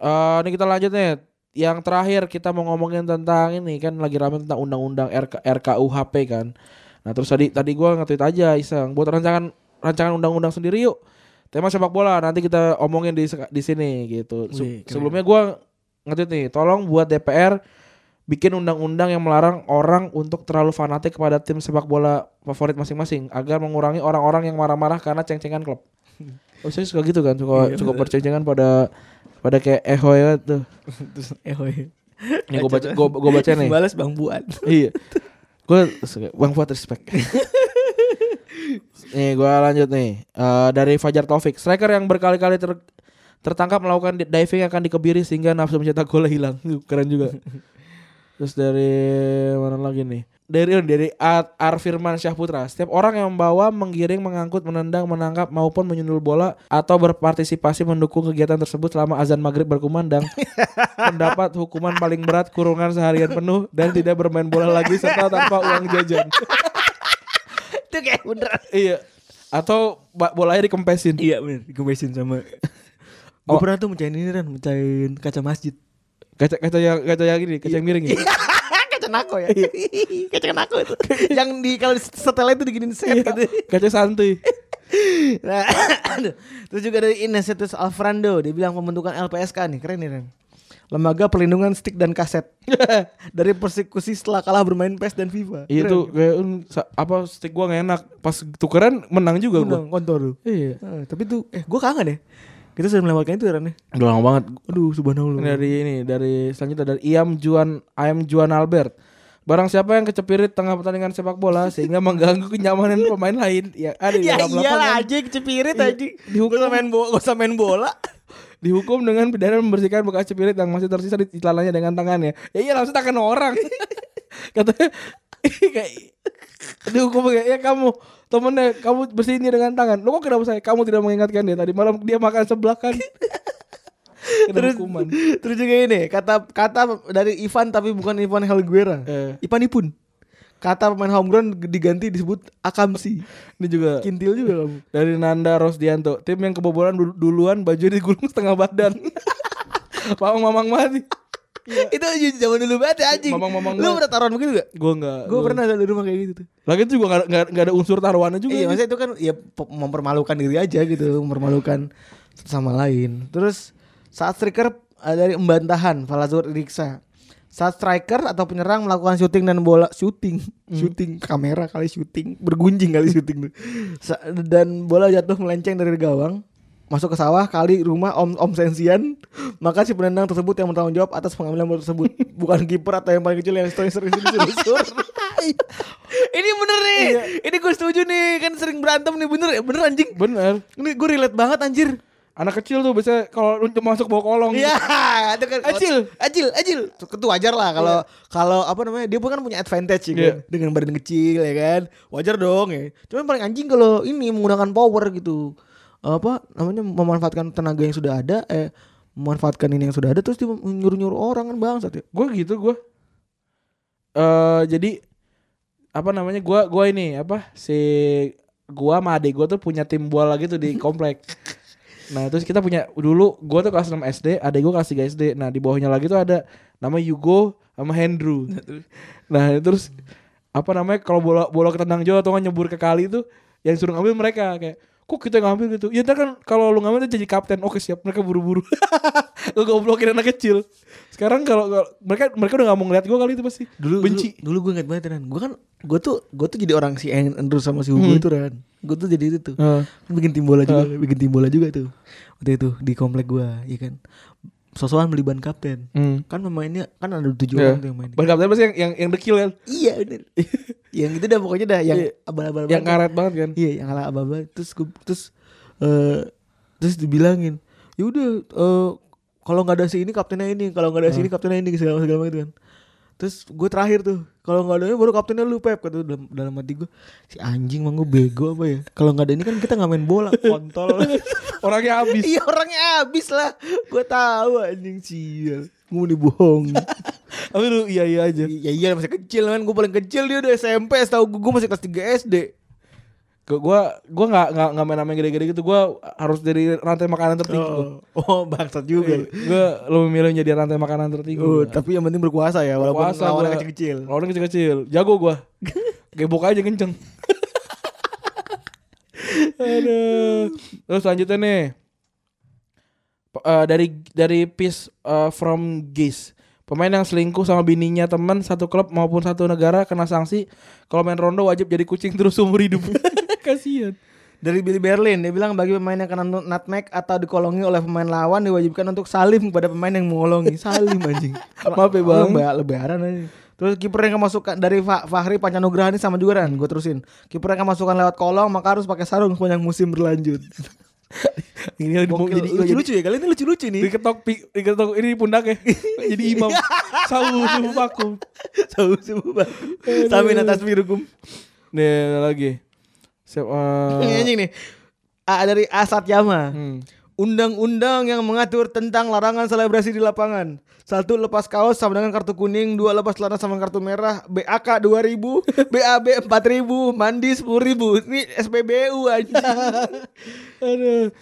Speaker 4: Eh ini kita lanjut nih yang terakhir kita mau ngomongin tentang ini kan lagi rame tentang undang-undang RK, RKUHP kan nah terus tadi tadi gue nge-tweet aja iseng buat rancangan rancangan undang-undang sendiri yuk tema sepak bola nanti kita omongin di sek- di sini gitu Se-
Speaker 2: Wih, keren.
Speaker 4: sebelumnya gue nge-tweet nih tolong buat DPR bikin undang-undang yang melarang orang untuk terlalu fanatik kepada tim sepak bola favorit masing-masing agar mengurangi orang-orang yang marah-marah karena ceng-cengan klub. Oh, saya suka gitu kan, suka suka perceng-cengan pada pada kayak eho ya tuh.
Speaker 2: Terus eh oh iya.
Speaker 4: Ini gue baca gue gue baca
Speaker 2: *laughs*
Speaker 4: nih.
Speaker 2: Balas Bang Buat.
Speaker 4: iya. Gue suka- Bang Fuad respect. nih gue lanjut nih Eh, dari Fajar Taufik, striker yang berkali-kali ter- tertangkap melakukan di- diving akan dikebiri sehingga nafsu mencetak gol hilang. *laughs* Keren juga. Terus dari mana lagi nih? Dari oh, dari Ar, Ar Firman Syahputra. Setiap orang yang membawa, menggiring, mengangkut, menendang, menangkap maupun menyundul bola atau berpartisipasi mendukung kegiatan tersebut selama azan maghrib berkumandang mendapat hukuman paling berat kurungan seharian penuh dan tidak bermain bola lagi serta tanpa uang jajan.
Speaker 2: Itu kayak beneran.
Speaker 4: iya. Atau ba- bolanya dikempesin.
Speaker 2: Iya bener. Dikemesin sama. Gue pernah tuh mecahin ini kan, mecahin kaca masjid.
Speaker 4: Kaca kaca yang kaca yang gini, kaca yang miring ya.
Speaker 2: Iya. kaca nako ya. *laughs* kaca nako itu. Yang di kalau di setel itu diginin set
Speaker 4: Iya.
Speaker 2: gitu. *laughs*
Speaker 4: kaca santuy.
Speaker 2: Nah, *laughs* aduh. Terus juga dari Inesetus Alfrando dia bilang pembentukan LPSK nih keren nih Ren. Lembaga Perlindungan Stik dan Kaset *laughs* dari persekusi setelah kalah bermain PES dan FIFA.
Speaker 4: Iya
Speaker 2: Keren.
Speaker 4: tuh kayak "Un, sa- apa stick gua gak enak. Pas tukeran menang juga
Speaker 2: Undang
Speaker 4: gua.
Speaker 2: kontor tuh.
Speaker 4: Iya.
Speaker 2: Eh, tapi tuh eh gue kangen ya. Kita sudah melewatkan itu Ren ya.
Speaker 4: Udah lama banget.
Speaker 2: Aduh
Speaker 4: Ini
Speaker 2: subhanallah.
Speaker 4: dari ini dari selanjutnya dari Iam Juan Iam Juan Albert. Barang siapa yang kecepirit tengah pertandingan sepak bola sehingga mengganggu kenyamanan pemain lain yang ada
Speaker 2: *laughs*
Speaker 4: di
Speaker 2: Ya
Speaker 4: dalam lapangan
Speaker 2: iyalah anjing cepirit
Speaker 4: Iya.
Speaker 2: anjing.
Speaker 4: Dihukum.
Speaker 2: Gue sama main bola, gua sama main bola.
Speaker 4: dihukum dengan pidana membersihkan bekas cepirit yang masih tersisa di celananya dengan tangannya. Ya iya langsung tangan orang. *laughs* Katanya *laughs* kayak dihukum kayak ya kamu temennya kamu
Speaker 2: *laughs*
Speaker 4: bersihin dia dengan tangan. Lo kok kenapa saya? Kamu tidak mengingatkan dia tadi malam dia makan sebelah kan. *laughs* Kena
Speaker 2: terus
Speaker 4: hukuman.
Speaker 2: terus juga ini kata kata dari Ivan tapi bukan Ivan Helguera
Speaker 4: Eh.
Speaker 2: Ivan Ipun kata pemain homegrown diganti disebut Akamsi
Speaker 4: Ini juga
Speaker 2: kintil juga kamu
Speaker 4: dari Nanda Rosdianto, tim yang kebobolan dul- duluan baju digulung setengah badan. *laughs* Mamang mamang mati.
Speaker 2: itu zaman dulu banget ya anjing
Speaker 4: Iya.
Speaker 2: lu
Speaker 4: Mamang-mamang banget.
Speaker 2: pernah taruhan begitu gak
Speaker 4: Gue nggak.
Speaker 2: gue pernah ada di rumah kayak gitu tuh
Speaker 4: Lagi itu juga nggak- nggak nggak ada unsur taruhannya juga.
Speaker 2: Iya maksudnya itu kan ya pe- mempermalukan diri aja gitu Mempermalukan satu sama lain Terus saat striker eh, dari pembantahan Falazur Riksa Saat striker atau penyerang melakukan syuting dan bola Syuting Syuting kamera kali syuting Bergunjing kali syuting tuh. Sa- Dan bola jatuh melenceng dari gawang Masuk ke sawah kali rumah om om sensian maka si penendang tersebut yang bertanggung jawab atas pengambilan bola tersebut bukan kiper atau yang paling kecil yang sering *laughs* sering ini bener nih ini gue setuju nih kan sering berantem nih bener ya bener anjing
Speaker 4: Bener.
Speaker 2: ini gue relate banget anjir
Speaker 4: Anak kecil tuh biasanya kalau untuk masuk bawa kolong. gitu.
Speaker 2: Iya, itu kan
Speaker 4: Acil.
Speaker 2: acil, acil. Iya. Itu wajar lah kalau kalau apa namanya dia pun kan punya advantage ya kan?
Speaker 4: Iya.
Speaker 2: dengan badan kecil ya kan, wajar dong ya. Cuman paling anjing kalau ini menggunakan power gitu apa namanya memanfaatkan tenaga yang sudah ada, eh memanfaatkan ini yang sudah ada terus dia nyuruh nyuruh orang kan bangsat ya.
Speaker 4: Gue gitu gue. Eh jadi apa namanya gue gua ini apa si gue sama adik gue tuh punya tim bola gitu di komplek. Nah terus kita punya dulu gue tuh kelas 6 SD, adik gue kelas 3 SD. Nah di bawahnya lagi tuh ada nama Yugo sama Hendru. Nah terus apa namanya kalau bola bola ketendang jauh atau nggak nyebur ke kali itu yang suruh ngambil mereka kayak kok kita yang ngambil gitu ya ntar kan kalau lu ngambil tuh jadi kapten oke siap mereka buru-buru *laughs* lu goblokin anak kecil sekarang kalau kalau- mereka mereka udah nggak mau ngeliat gue kali itu pasti
Speaker 2: Dulu Dulu,
Speaker 4: benci
Speaker 2: dulu gue ingat banget Ran. Gue kan gue tuh gue tuh jadi orang si Andrew sama si Hugo itu Ran. Gue tuh jadi itu tuh.
Speaker 4: Hmm. Heeh.
Speaker 2: Kan bikin tim bola juga, bikin tim bola juga tuh. Waktu itu di komplek gue, ya kan. Sosokan beli ban kapten.
Speaker 4: Hmm.
Speaker 2: Kan pemainnya kan ada tujuh
Speaker 4: Iya.
Speaker 2: orang tuh yang main.
Speaker 4: Ban kapten pasti yang yang, yang dekil kan
Speaker 2: Iya
Speaker 4: *laughs*
Speaker 2: bener. yang itu dah pokoknya dah yang abal-abal.
Speaker 4: Iya. yang
Speaker 2: banget.
Speaker 4: karet banget kan
Speaker 2: Iya, yang ala ababa. Terus gue terus eh terus dibilangin, "Ya udah eh, kalau nggak ada si ini kaptennya ini, kalau nggak ada
Speaker 4: Ah.
Speaker 2: si ini kaptennya ini segala segala gitu kan." Terus gue terakhir tuh, kalau nggak ada ini baru kaptennya lu Pep kata dalam dalam hati gue, si anjing mah gue bego apa ya? Kalau nggak ada ini kan kita nggak main bola, kontol.
Speaker 4: *laughs* orangnya
Speaker 2: *laughs*
Speaker 4: habis
Speaker 2: iya orangnya habis lah. Gue tahu anjing sial. Gue dibohong.
Speaker 4: *laughs* tapi lu iya iya aja
Speaker 2: ya iya masih kecil kan, gue paling kecil dia udah SMP, tahu gue, gue masih kelas 3 SD.
Speaker 4: gue gua gua nggak nggak nggak main main gede-gede gitu gue harus dari rantai makanan tertinggi gua.
Speaker 2: Oh, oh bangsat juga.
Speaker 4: gue lebih milih menjadi rantai makanan tertinggi
Speaker 2: Oh,
Speaker 4: gua.
Speaker 2: tapi yang penting berkuasa ya walaupun
Speaker 4: Puasa
Speaker 2: lawannya
Speaker 4: gua.
Speaker 2: kecil-kecil.
Speaker 4: Lawannya kecil-kecil. Jago gua. Gebok
Speaker 2: *laughs*
Speaker 4: aja kenceng. Aduh. Terus selanjutnya nih. P- eh, dari dari piece eh, from Gis. Pemain yang selingkuh sama bininya teman satu klub maupun satu negara kena sanksi kalau main rondo wajib jadi kucing terus
Speaker 2: *laughs*
Speaker 4: seumur hidup. Kasihan.
Speaker 2: Dari Billy Berlin, dia bilang bagi pemain yang kena nut- nutmeg atau dikolongi oleh pemain lawan diwajibkan untuk salim kepada pemain yang mengolongi. *laughs* Salim anjing.
Speaker 4: Maaf ya, Bang.
Speaker 2: Lebay- lebaran aja. Terus kiper yang kemasukan dari Fa- Fahri Pancanugraha ini sama juga kan, gue terusin. Kiper yang kemasukan lewat kolong maka harus pakai sarung sepanjang musim berlanjut. *laughs*
Speaker 4: Ini
Speaker 2: Gokil.
Speaker 4: jadi
Speaker 2: lucu-lucu ya, kali ini lucu-lucu nih. *laughs*
Speaker 4: diketok pi- diketok ini di pundaknya. jadi imam.
Speaker 2: Iya.
Speaker 4: Sawu subuh vakum.
Speaker 2: Tahu semua. Samin atas birukum.
Speaker 4: Nih lagi. Siap.
Speaker 2: Ini
Speaker 4: eh,
Speaker 2: anjing nih. A dari Asat Yama.
Speaker 4: hmm.
Speaker 2: Undang-undang yang mengatur tentang larangan selebrasi di lapangan. Satu lepas kaos sama dengan kartu kuning, dua lepas celana sama kartu merah, BAK 2000, BAB 4000, mandi 10000. Ini SPBU
Speaker 4: *laughs*
Speaker 2: aja.
Speaker 4: Aduh.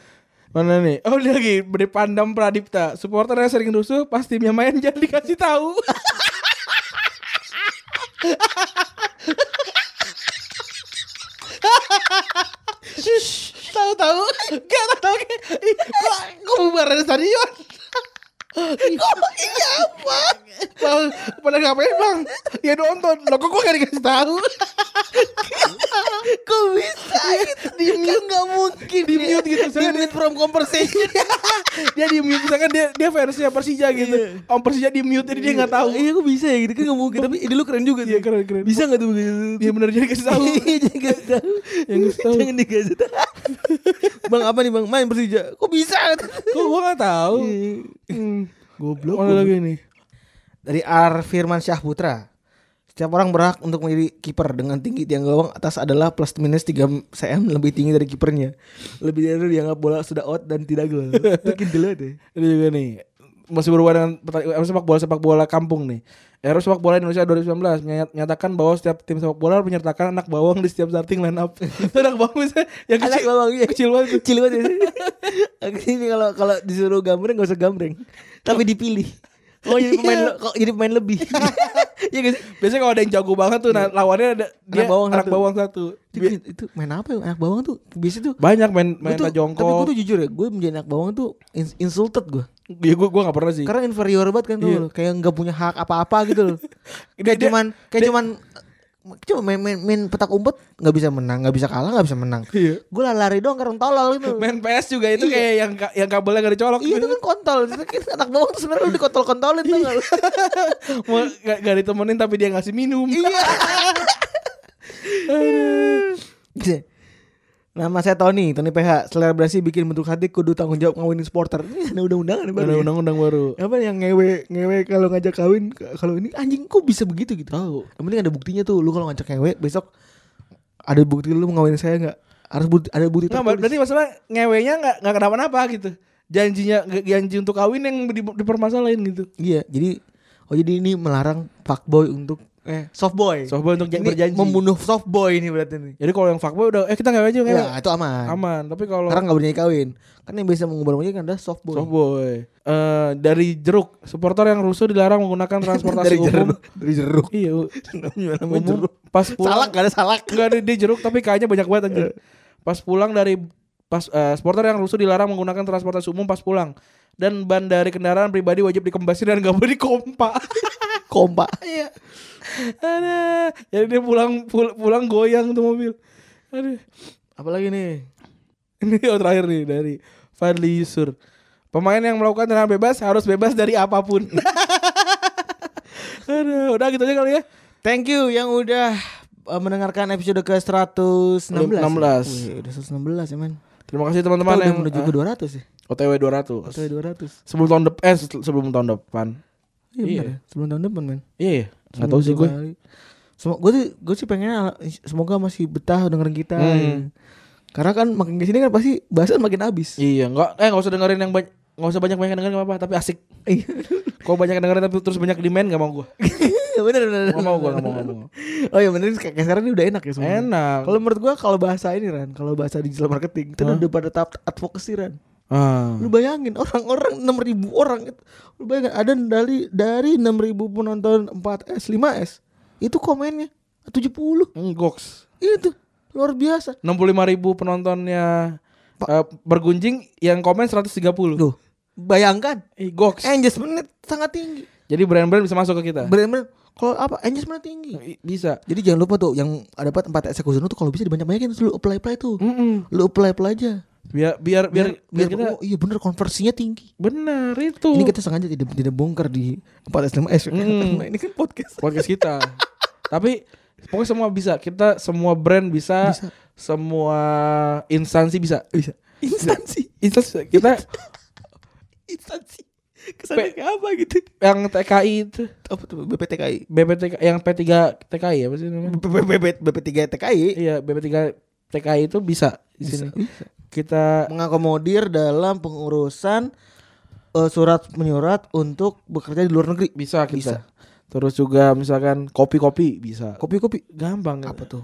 Speaker 4: Mana nih? Oh, ini lagi Bede Pandam Pradipta. Supporternya sering rusuh, pas timnya main *laughs* jadi dikasih tahu.
Speaker 2: Tahu-tahu enggak tahu kayak, ih, kok kebubaran stadion. Kok iya apa?
Speaker 4: Bang, pada ngapain, Bang? Ya nonton. Lah kok gua gak dikasih tahu?
Speaker 2: Kok bisa gitu?
Speaker 4: Iya,
Speaker 2: Kan nggak mungkin. Di
Speaker 4: mute gitu,
Speaker 2: Di
Speaker 4: soalnya
Speaker 2: mute from conversation.
Speaker 4: dia di mute misalkan dia dia fansnya Persija gitu. Om Persija di mute jadi dia nggak tahu.
Speaker 2: Iya kok bisa ya gitu kan nggak mungkin. Tapi ide lu keren juga.
Speaker 4: Iya,
Speaker 2: tuh.
Speaker 4: keren, Iya, keren.
Speaker 2: Bisa nggak tuh? *laughs* Iya,
Speaker 4: Dia bener jadi dikasih tahu.
Speaker 2: Jangan dikasih tahu.
Speaker 4: Jangan dikasih tahu.
Speaker 2: Jangan dikasih tahu. *laughs* bang apa nih bang main Persija? Kok bisa?
Speaker 4: *laughs* Kok gua nggak tahu?
Speaker 2: Hmm.
Speaker 4: Goblok. Mana Iya. lagi nih?
Speaker 2: Dari Ar Firman Syah Putra. Setiap orang berhak untuk menjadi kiper dengan tinggi tiang gawang atas adalah plus minus 3 cm lebih tinggi dari kipernya. Lebih dari itu dianggap bola sudah out dan tidak *laughs* gol. Itu kindel banget ya.
Speaker 4: Ini juga nih masih berhubungan dengan pertandingan apa, sepak bola sepak bola kampung nih. Eros sepak bola Indonesia 2019 menyat- menyatakan bahwa setiap tim sepak bola harus menyertakan anak bawang di setiap starting line *laughs* up. anak bawang bisa yang
Speaker 2: Anak
Speaker 4: kecil,
Speaker 2: bawang, iya.
Speaker 4: kecil banget.
Speaker 2: Kecil banget. ya. *laughs* Aku sini kalau kalau disuruh gambreng gak usah gambreng. Tapi dipilih. Kok Oh, jadi pemain
Speaker 4: Iya.
Speaker 2: le- kok jadi pemain lebih. Iya guys.
Speaker 4: Biasanya kalau ada yang jago banget tuh nah, lawannya ada dia anak
Speaker 2: Iya. bawang
Speaker 4: bawang,
Speaker 2: satu.
Speaker 4: satu.
Speaker 2: *laughs* Itu, itu main apa ya anak bawang tuh? Biasanya tuh
Speaker 4: Banyak main
Speaker 2: Gua
Speaker 4: main
Speaker 2: tuh- Tapi gue
Speaker 4: tajongkol.
Speaker 2: tuh jujur ya, gue menjadi anak bawang tuh ins- insulted gue.
Speaker 4: Ya gue gue gak pernah sih.
Speaker 2: Karena inferior banget kan tuh,
Speaker 4: Iya.
Speaker 2: loh. kayak nggak punya hak apa-apa gitu
Speaker 4: *laughs*
Speaker 2: loh.
Speaker 4: Dia-
Speaker 2: kayak
Speaker 4: dia-
Speaker 2: cuman, kayak
Speaker 4: dia-
Speaker 2: cuman, eh, cuma main, main, main petak umpet nggak bisa menang, nggak bisa kalah, nggak bisa menang.
Speaker 4: Iya.
Speaker 2: Gue lari doang karena tolol
Speaker 4: *laughs*
Speaker 2: gitu.
Speaker 4: Main PS juga itu
Speaker 2: Iya.
Speaker 4: kayak yang ka- yang kabelnya gak dicolok.
Speaker 2: Iya itu kan kontol, Itu kan anak bawang tuh sebenarnya udah dikontol-kontolin tuh.
Speaker 4: *laughs* Mau gak, gak ditemenin tapi dia ngasih minum.
Speaker 2: Iya. Iya. *laughs* Nama saya Tony, Tony PH. Selebrasi bikin bentuk hati kudu tanggung jawab ngawinin supporter. Ini ada undang-undangan nih, baru
Speaker 4: Ada
Speaker 2: ya.
Speaker 4: undang-undang baru.
Speaker 2: apa yang ngewe ngewe kalau ngajak kawin kalau ini anjing kok bisa begitu gitu tahu yang penting ada buktinya tuh lu kalau ngajak ngewe besok ada bukti lu mau ngawin saya nggak harus bukti, ada bukti
Speaker 4: Nggak,
Speaker 2: tertulis.
Speaker 4: berarti masalah ngewenya nggak nggak kenapa-napa gitu. Janjinya janji untuk kawin yang di, dipermasalahin gitu.
Speaker 2: iya jadi oh jadi ini melarang fuckboy untuk eh softboy
Speaker 4: Softboy untuk
Speaker 2: Ini
Speaker 4: berjanji.
Speaker 2: membunuh softboy ini berarti nih
Speaker 4: Jadi kalau yang fuckboy udah eh kita ngewe aja ngewe.
Speaker 2: ya itu aman,
Speaker 4: Aman. Tapi kalau
Speaker 2: karena nggak boleh kawin kan yang bisa mengubah namanya kan adalah softboy
Speaker 4: softboy eh dari jeruk, supporter yang rusuh dilarang menggunakan transportasi
Speaker 2: *laughs* dari
Speaker 4: umum.
Speaker 2: jeruk dari jeruk
Speaker 4: Iya, u-
Speaker 2: namanya *laughs* namanya
Speaker 4: umum
Speaker 2: jeruk
Speaker 4: pas pulang.
Speaker 2: salak gak ada
Speaker 4: *laughs*
Speaker 2: salak
Speaker 4: Enggak ada di jeruk tapi kayaknya banyak banget anjir. Pas pulang dari pas eh, supporter yang rusuh dilarang menggunakan transportasi umum pas pulang dan ban dari kendaraan pribadi wajib dikembasin dan gak boleh dikompa.
Speaker 2: kompak
Speaker 4: Iya. *laughs* Ada. Jadi dia pulang pul- pulang goyang tuh mobil. Aduh.
Speaker 2: apalagi nih
Speaker 4: Ini yang terakhir nih dari Fadli Yusur. Pemain yang melakukan tendangan bebas harus bebas dari apapun. *laughs* Aduh, udah gitu aja kali ya.
Speaker 2: Thank you yang udah uh, mendengarkan episode ke 116.
Speaker 4: 16.
Speaker 2: Wih, udah 116 ya men.
Speaker 4: Terima kasih
Speaker 2: Kita
Speaker 4: teman-teman
Speaker 2: udah
Speaker 4: yang
Speaker 2: menuju ke 200 ya.
Speaker 4: eh, OTW 200.
Speaker 2: Atau 200.
Speaker 4: Sebelum tahun depan eh se- sebelum tahun depan.
Speaker 2: Iya,
Speaker 4: Iya.
Speaker 2: benar ya. Sebelum tahun depan men.
Speaker 4: Iya, iya. Enggak tahu sih gue.
Speaker 2: Semoga gue sih gue sih pengennya al- semoga masih betah dengerin kita.
Speaker 4: Hmm.
Speaker 2: Karena kan makin kesini kan pasti bahasan makin habis.
Speaker 4: Iya, enggak eh enggak usah dengerin yang banyak Gak usah banyak-banyak dengerin gak apa-apa Tapi asik
Speaker 2: Iya.
Speaker 4: *laughs* Kalau banyak dengerin tapi terus banyak demand gak mau gue
Speaker 2: *laughs* bener bener.
Speaker 4: Gak mau gue gak mau, gak mau. *laughs*
Speaker 2: Oh iya bener kayak sekarang ini udah enak ya semuanya.
Speaker 4: Enak
Speaker 2: Kalau menurut gua kalau bahasa ini Ran, kalau bahasa digital marketing itu udah pada tahap advokasi Ran.
Speaker 4: Ah.
Speaker 2: Lu bayangin *laughs* orang-orang 6000 orang itu. Lu bayangin ada dari dari 6000 penonton 4S 5S itu komennya 70
Speaker 4: Goks.
Speaker 2: itu luar biasa.
Speaker 4: 65 ribu penontonnya eh, bergunjing yang komen 130.
Speaker 2: Loh, bayangkan
Speaker 4: Eh, goks.
Speaker 2: engagement sangat tinggi.
Speaker 4: Jadi brand-brand bisa masuk ke kita.
Speaker 2: Benar-benar kalau apa engagement tinggi.
Speaker 4: I- bisa.
Speaker 2: Jadi jangan lupa tuh yang dapat 4S Kuzono tuh kalau bisa dibanyak-banyakin terus lu apply-apply tuh.
Speaker 4: Mm-mm.
Speaker 2: Lu apply-apply aja.
Speaker 4: Biar biar biar, biar kita
Speaker 2: oh, iya bener konversinya tinggi.
Speaker 4: benar itu.
Speaker 2: Ini kita sengaja tidak tidak bongkar di 4S 5S.
Speaker 4: Mm.
Speaker 2: *laughs* Karena ini kan podcast.
Speaker 4: podcast kita. Tapi pokoknya semua bisa. Kita semua brand bisa,
Speaker 2: Bisa.
Speaker 4: semua instansi bisa.
Speaker 2: Bisa. Instansi.
Speaker 4: Instansi kita
Speaker 2: instansi kesannya kayak apa gitu
Speaker 4: yang TKI itu,
Speaker 2: apa tuh BPTKI
Speaker 4: BPTK yang P3 TKI ya, apa sih namanya?
Speaker 2: BP3 TKI
Speaker 4: Iya, BP3 TKI itu bisa di sini. Kita
Speaker 2: mengakomodir dalam pengurusan eh, surat menyurat untuk bekerja di luar negeri
Speaker 4: bisa
Speaker 2: Bisa.
Speaker 4: kita. Terus juga misalkan kopi-kopi bisa.
Speaker 2: kopi kopi
Speaker 4: Gampang.
Speaker 2: apa tuh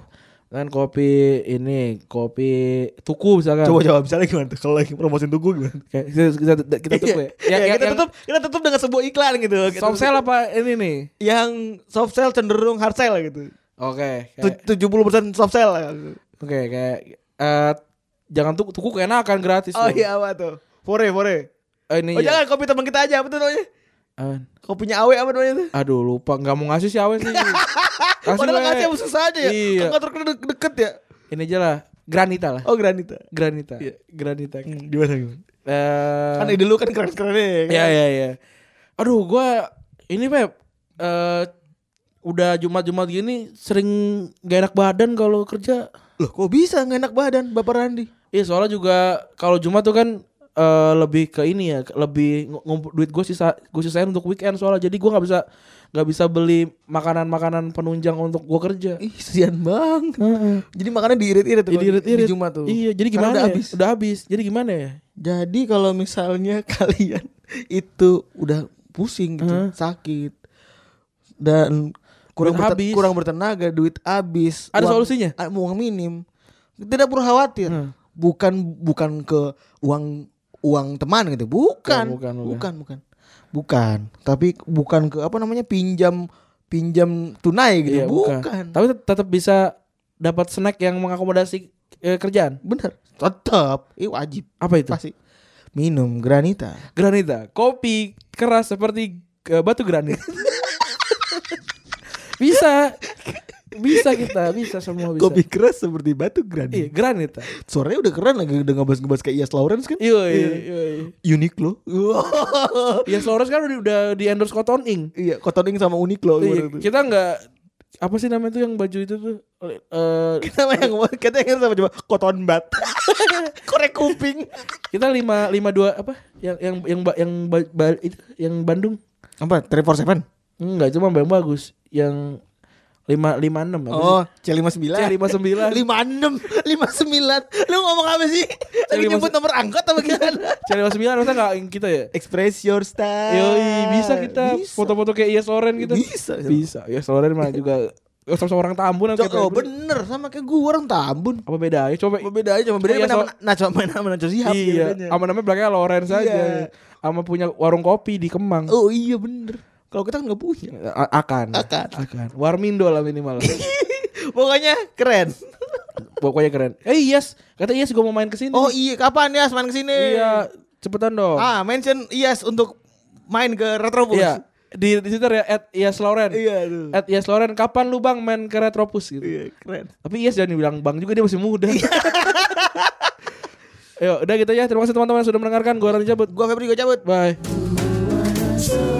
Speaker 4: Kan kopi ini, kopi tuku misalkan.
Speaker 2: coba misalnya gimana tuh kalau lagi promosin tugu gimana
Speaker 4: Kayak kita kita, kita tuku ya.
Speaker 2: ya,
Speaker 4: Yang-
Speaker 2: kita
Speaker 4: yang-
Speaker 2: tutup kita tutup dengan sebuah iklan gitu
Speaker 4: yang soft sell apa ini nih?
Speaker 2: yang soft sell cenderung hard sell gitu
Speaker 4: Oke. kayak-
Speaker 2: tujuh puluh persen soft sell
Speaker 4: Oke, kayak eh, jangan tuku tuku keenakan gratis.
Speaker 2: oh
Speaker 4: loh.
Speaker 2: iya apa tuh fore fore
Speaker 4: Eh, ini
Speaker 2: oh
Speaker 4: iya.
Speaker 2: jangan kopi teman kita aja apa tuh namanya
Speaker 4: Apaan?
Speaker 2: kopinya awe apa namanya tuh
Speaker 4: Aduh, lupa nggak mau ngasih si Awen
Speaker 2: *laughs*
Speaker 4: sih. Kasih
Speaker 2: Padahal
Speaker 4: we.
Speaker 2: ngasih susah aja ya.
Speaker 4: Iya.
Speaker 2: Ke kantor kedua de- deket ya.
Speaker 4: Ini aja lah. Granita lah.
Speaker 2: Oh Granita.
Speaker 4: Granita. Eh, Granita. Eh
Speaker 2: Gimana gimana? Kan ide lu kan keren-keren ya. kan?
Speaker 4: Ya ya ya. Aduh, gua ini Pep eh udah Jumat-Jumat gini sering gak enak badan kalau kerja.
Speaker 2: Loh kok bisa nggak enak badan Bapak Randi?
Speaker 4: Iya, soalnya juga kalau Jumat tuh kan eh, lebih ke ini ya, ke- lebih ng- ngumpul duit gue sisa gue sisain untuk weekend soalnya jadi gue nggak bisa nggak bisa beli makanan-makanan penunjang untuk gue kerja.
Speaker 2: Ih, kesian banget. Jadi makannya diirit-irit tuh.
Speaker 4: Jadi
Speaker 2: kalau Iya, di-
Speaker 4: irit-irit.
Speaker 2: Di Jumat tuh.
Speaker 4: Iya, jadi
Speaker 2: Karena
Speaker 4: gimana?
Speaker 2: udah
Speaker 4: ya?
Speaker 2: habis.
Speaker 4: Udah habis. Jadi gimana ya?
Speaker 2: Jadi kalau misalnya *laughs* kalian itu udah pusing gitu, sakit dan kurang
Speaker 4: Duit
Speaker 2: berte-
Speaker 4: habis.
Speaker 2: kurang bertenaga, duit habis.
Speaker 4: Ada solusinya?
Speaker 2: a- Uang minim. Tidak perlu khawatir. Bukan bukan ke uang uang teman gitu. Bukan.
Speaker 4: Ya, Bukan, bukan,
Speaker 2: bukan. bukan. Bukan. Tapi bukan ke apa namanya pinjam pinjam tunai gitu.
Speaker 4: Iya,
Speaker 2: bukan.
Speaker 4: Tapi tet- tetap bisa dapat snack yang mengakomodasi eh, kerjaan.
Speaker 2: Bener. Tetap. Ini wajib
Speaker 4: Apa itu?
Speaker 2: pasti. Minum granita.
Speaker 4: Granita, kopi keras seperti eh, batu *laughs* granit. bisa. Bisa kita, bisa semua bisa.
Speaker 2: Kopi keras seperti batu granit.
Speaker 4: Iya, granita.
Speaker 2: Suaranya udah keren lagi udah ngebas-ngebas kayak Ias Lawrence kan?
Speaker 4: Iya, iya, iya.
Speaker 2: Uniqlo. Oh.
Speaker 4: Ya Soros kan udah, udah di endorse Cotton Ink.
Speaker 2: *laughs* iya, Cotton Ink sama Uniqlo
Speaker 4: Iya,
Speaker 2: gimana tuh?
Speaker 4: kita nggak apa sih namanya tuh yang baju itu tuh Eh,
Speaker 2: *laughs* Kita mah yang kita yang sama coba Cotton Bud. Korek kuping.
Speaker 4: kita lima lima dua apa yang yang yang ba- yang ba- ba- itu, yang Bandung
Speaker 2: *laughs* Apa? 347.
Speaker 4: enggak cuma yang bagus yang lima lima enam apa
Speaker 2: Oh, C59.
Speaker 4: sih? lima sembilan
Speaker 2: 56, 59. Lu ngomong apa
Speaker 4: *laughs*
Speaker 2: sih? Tadi
Speaker 4: C59.
Speaker 2: nyebut nomor angkot apa
Speaker 4: *laughs*
Speaker 2: gimana?
Speaker 4: cari lima sembilan masa nggak yang kita ya
Speaker 2: Express your style.
Speaker 4: Yoi, bisa kita
Speaker 2: Eh, Bisa.
Speaker 4: foto-foto kayak Yes Loren gitu
Speaker 2: Bisa.
Speaker 4: bisa Yes Loren mah juga sama sama orang
Speaker 2: Cok,
Speaker 4: Tambun kayak
Speaker 2: oh,
Speaker 4: Bandung.
Speaker 2: bener sama kayak gua orang Tambun.
Speaker 4: apa bedanya coba
Speaker 2: Beda aja cuma bedanya
Speaker 4: Iya, so-
Speaker 2: nama nah cuma main nama Nacho Shihab
Speaker 4: iya
Speaker 2: bedanya.
Speaker 4: sama namanya belakangnya Loren
Speaker 2: Iya.
Speaker 4: saja sama punya warung kopi di Kemang
Speaker 2: Oh iya bener. Kalau kita kan nggak punya.
Speaker 4: A- akan
Speaker 2: Akan.
Speaker 4: akan Warmindo lah minimal
Speaker 2: *laughs*
Speaker 4: *laughs*
Speaker 2: Pokoknya keren. *laughs*
Speaker 4: pokoknya keren eh yes kata yes gue mau main kesini
Speaker 2: Oh iya, kapan ya main kesini?
Speaker 4: iya cepetan dong
Speaker 2: Ah, mention yes untuk main ke Retrobus.
Speaker 4: Iya. Di di Twitter ya at Yes Loren.
Speaker 2: Iya tuh.
Speaker 4: At Yes Loren kapan lu Bang main ke Retropus gitu.
Speaker 2: Iya, keren.
Speaker 4: Tapi Yes jangan bilang Bang juga dia masih muda. *laughs* Ayo, udah gitu ya. Terima kasih teman-teman yang sudah mendengarkan. Gua Rani cabut.
Speaker 2: Gua Febri gua cabut.
Speaker 4: Bye.
Speaker 5: Show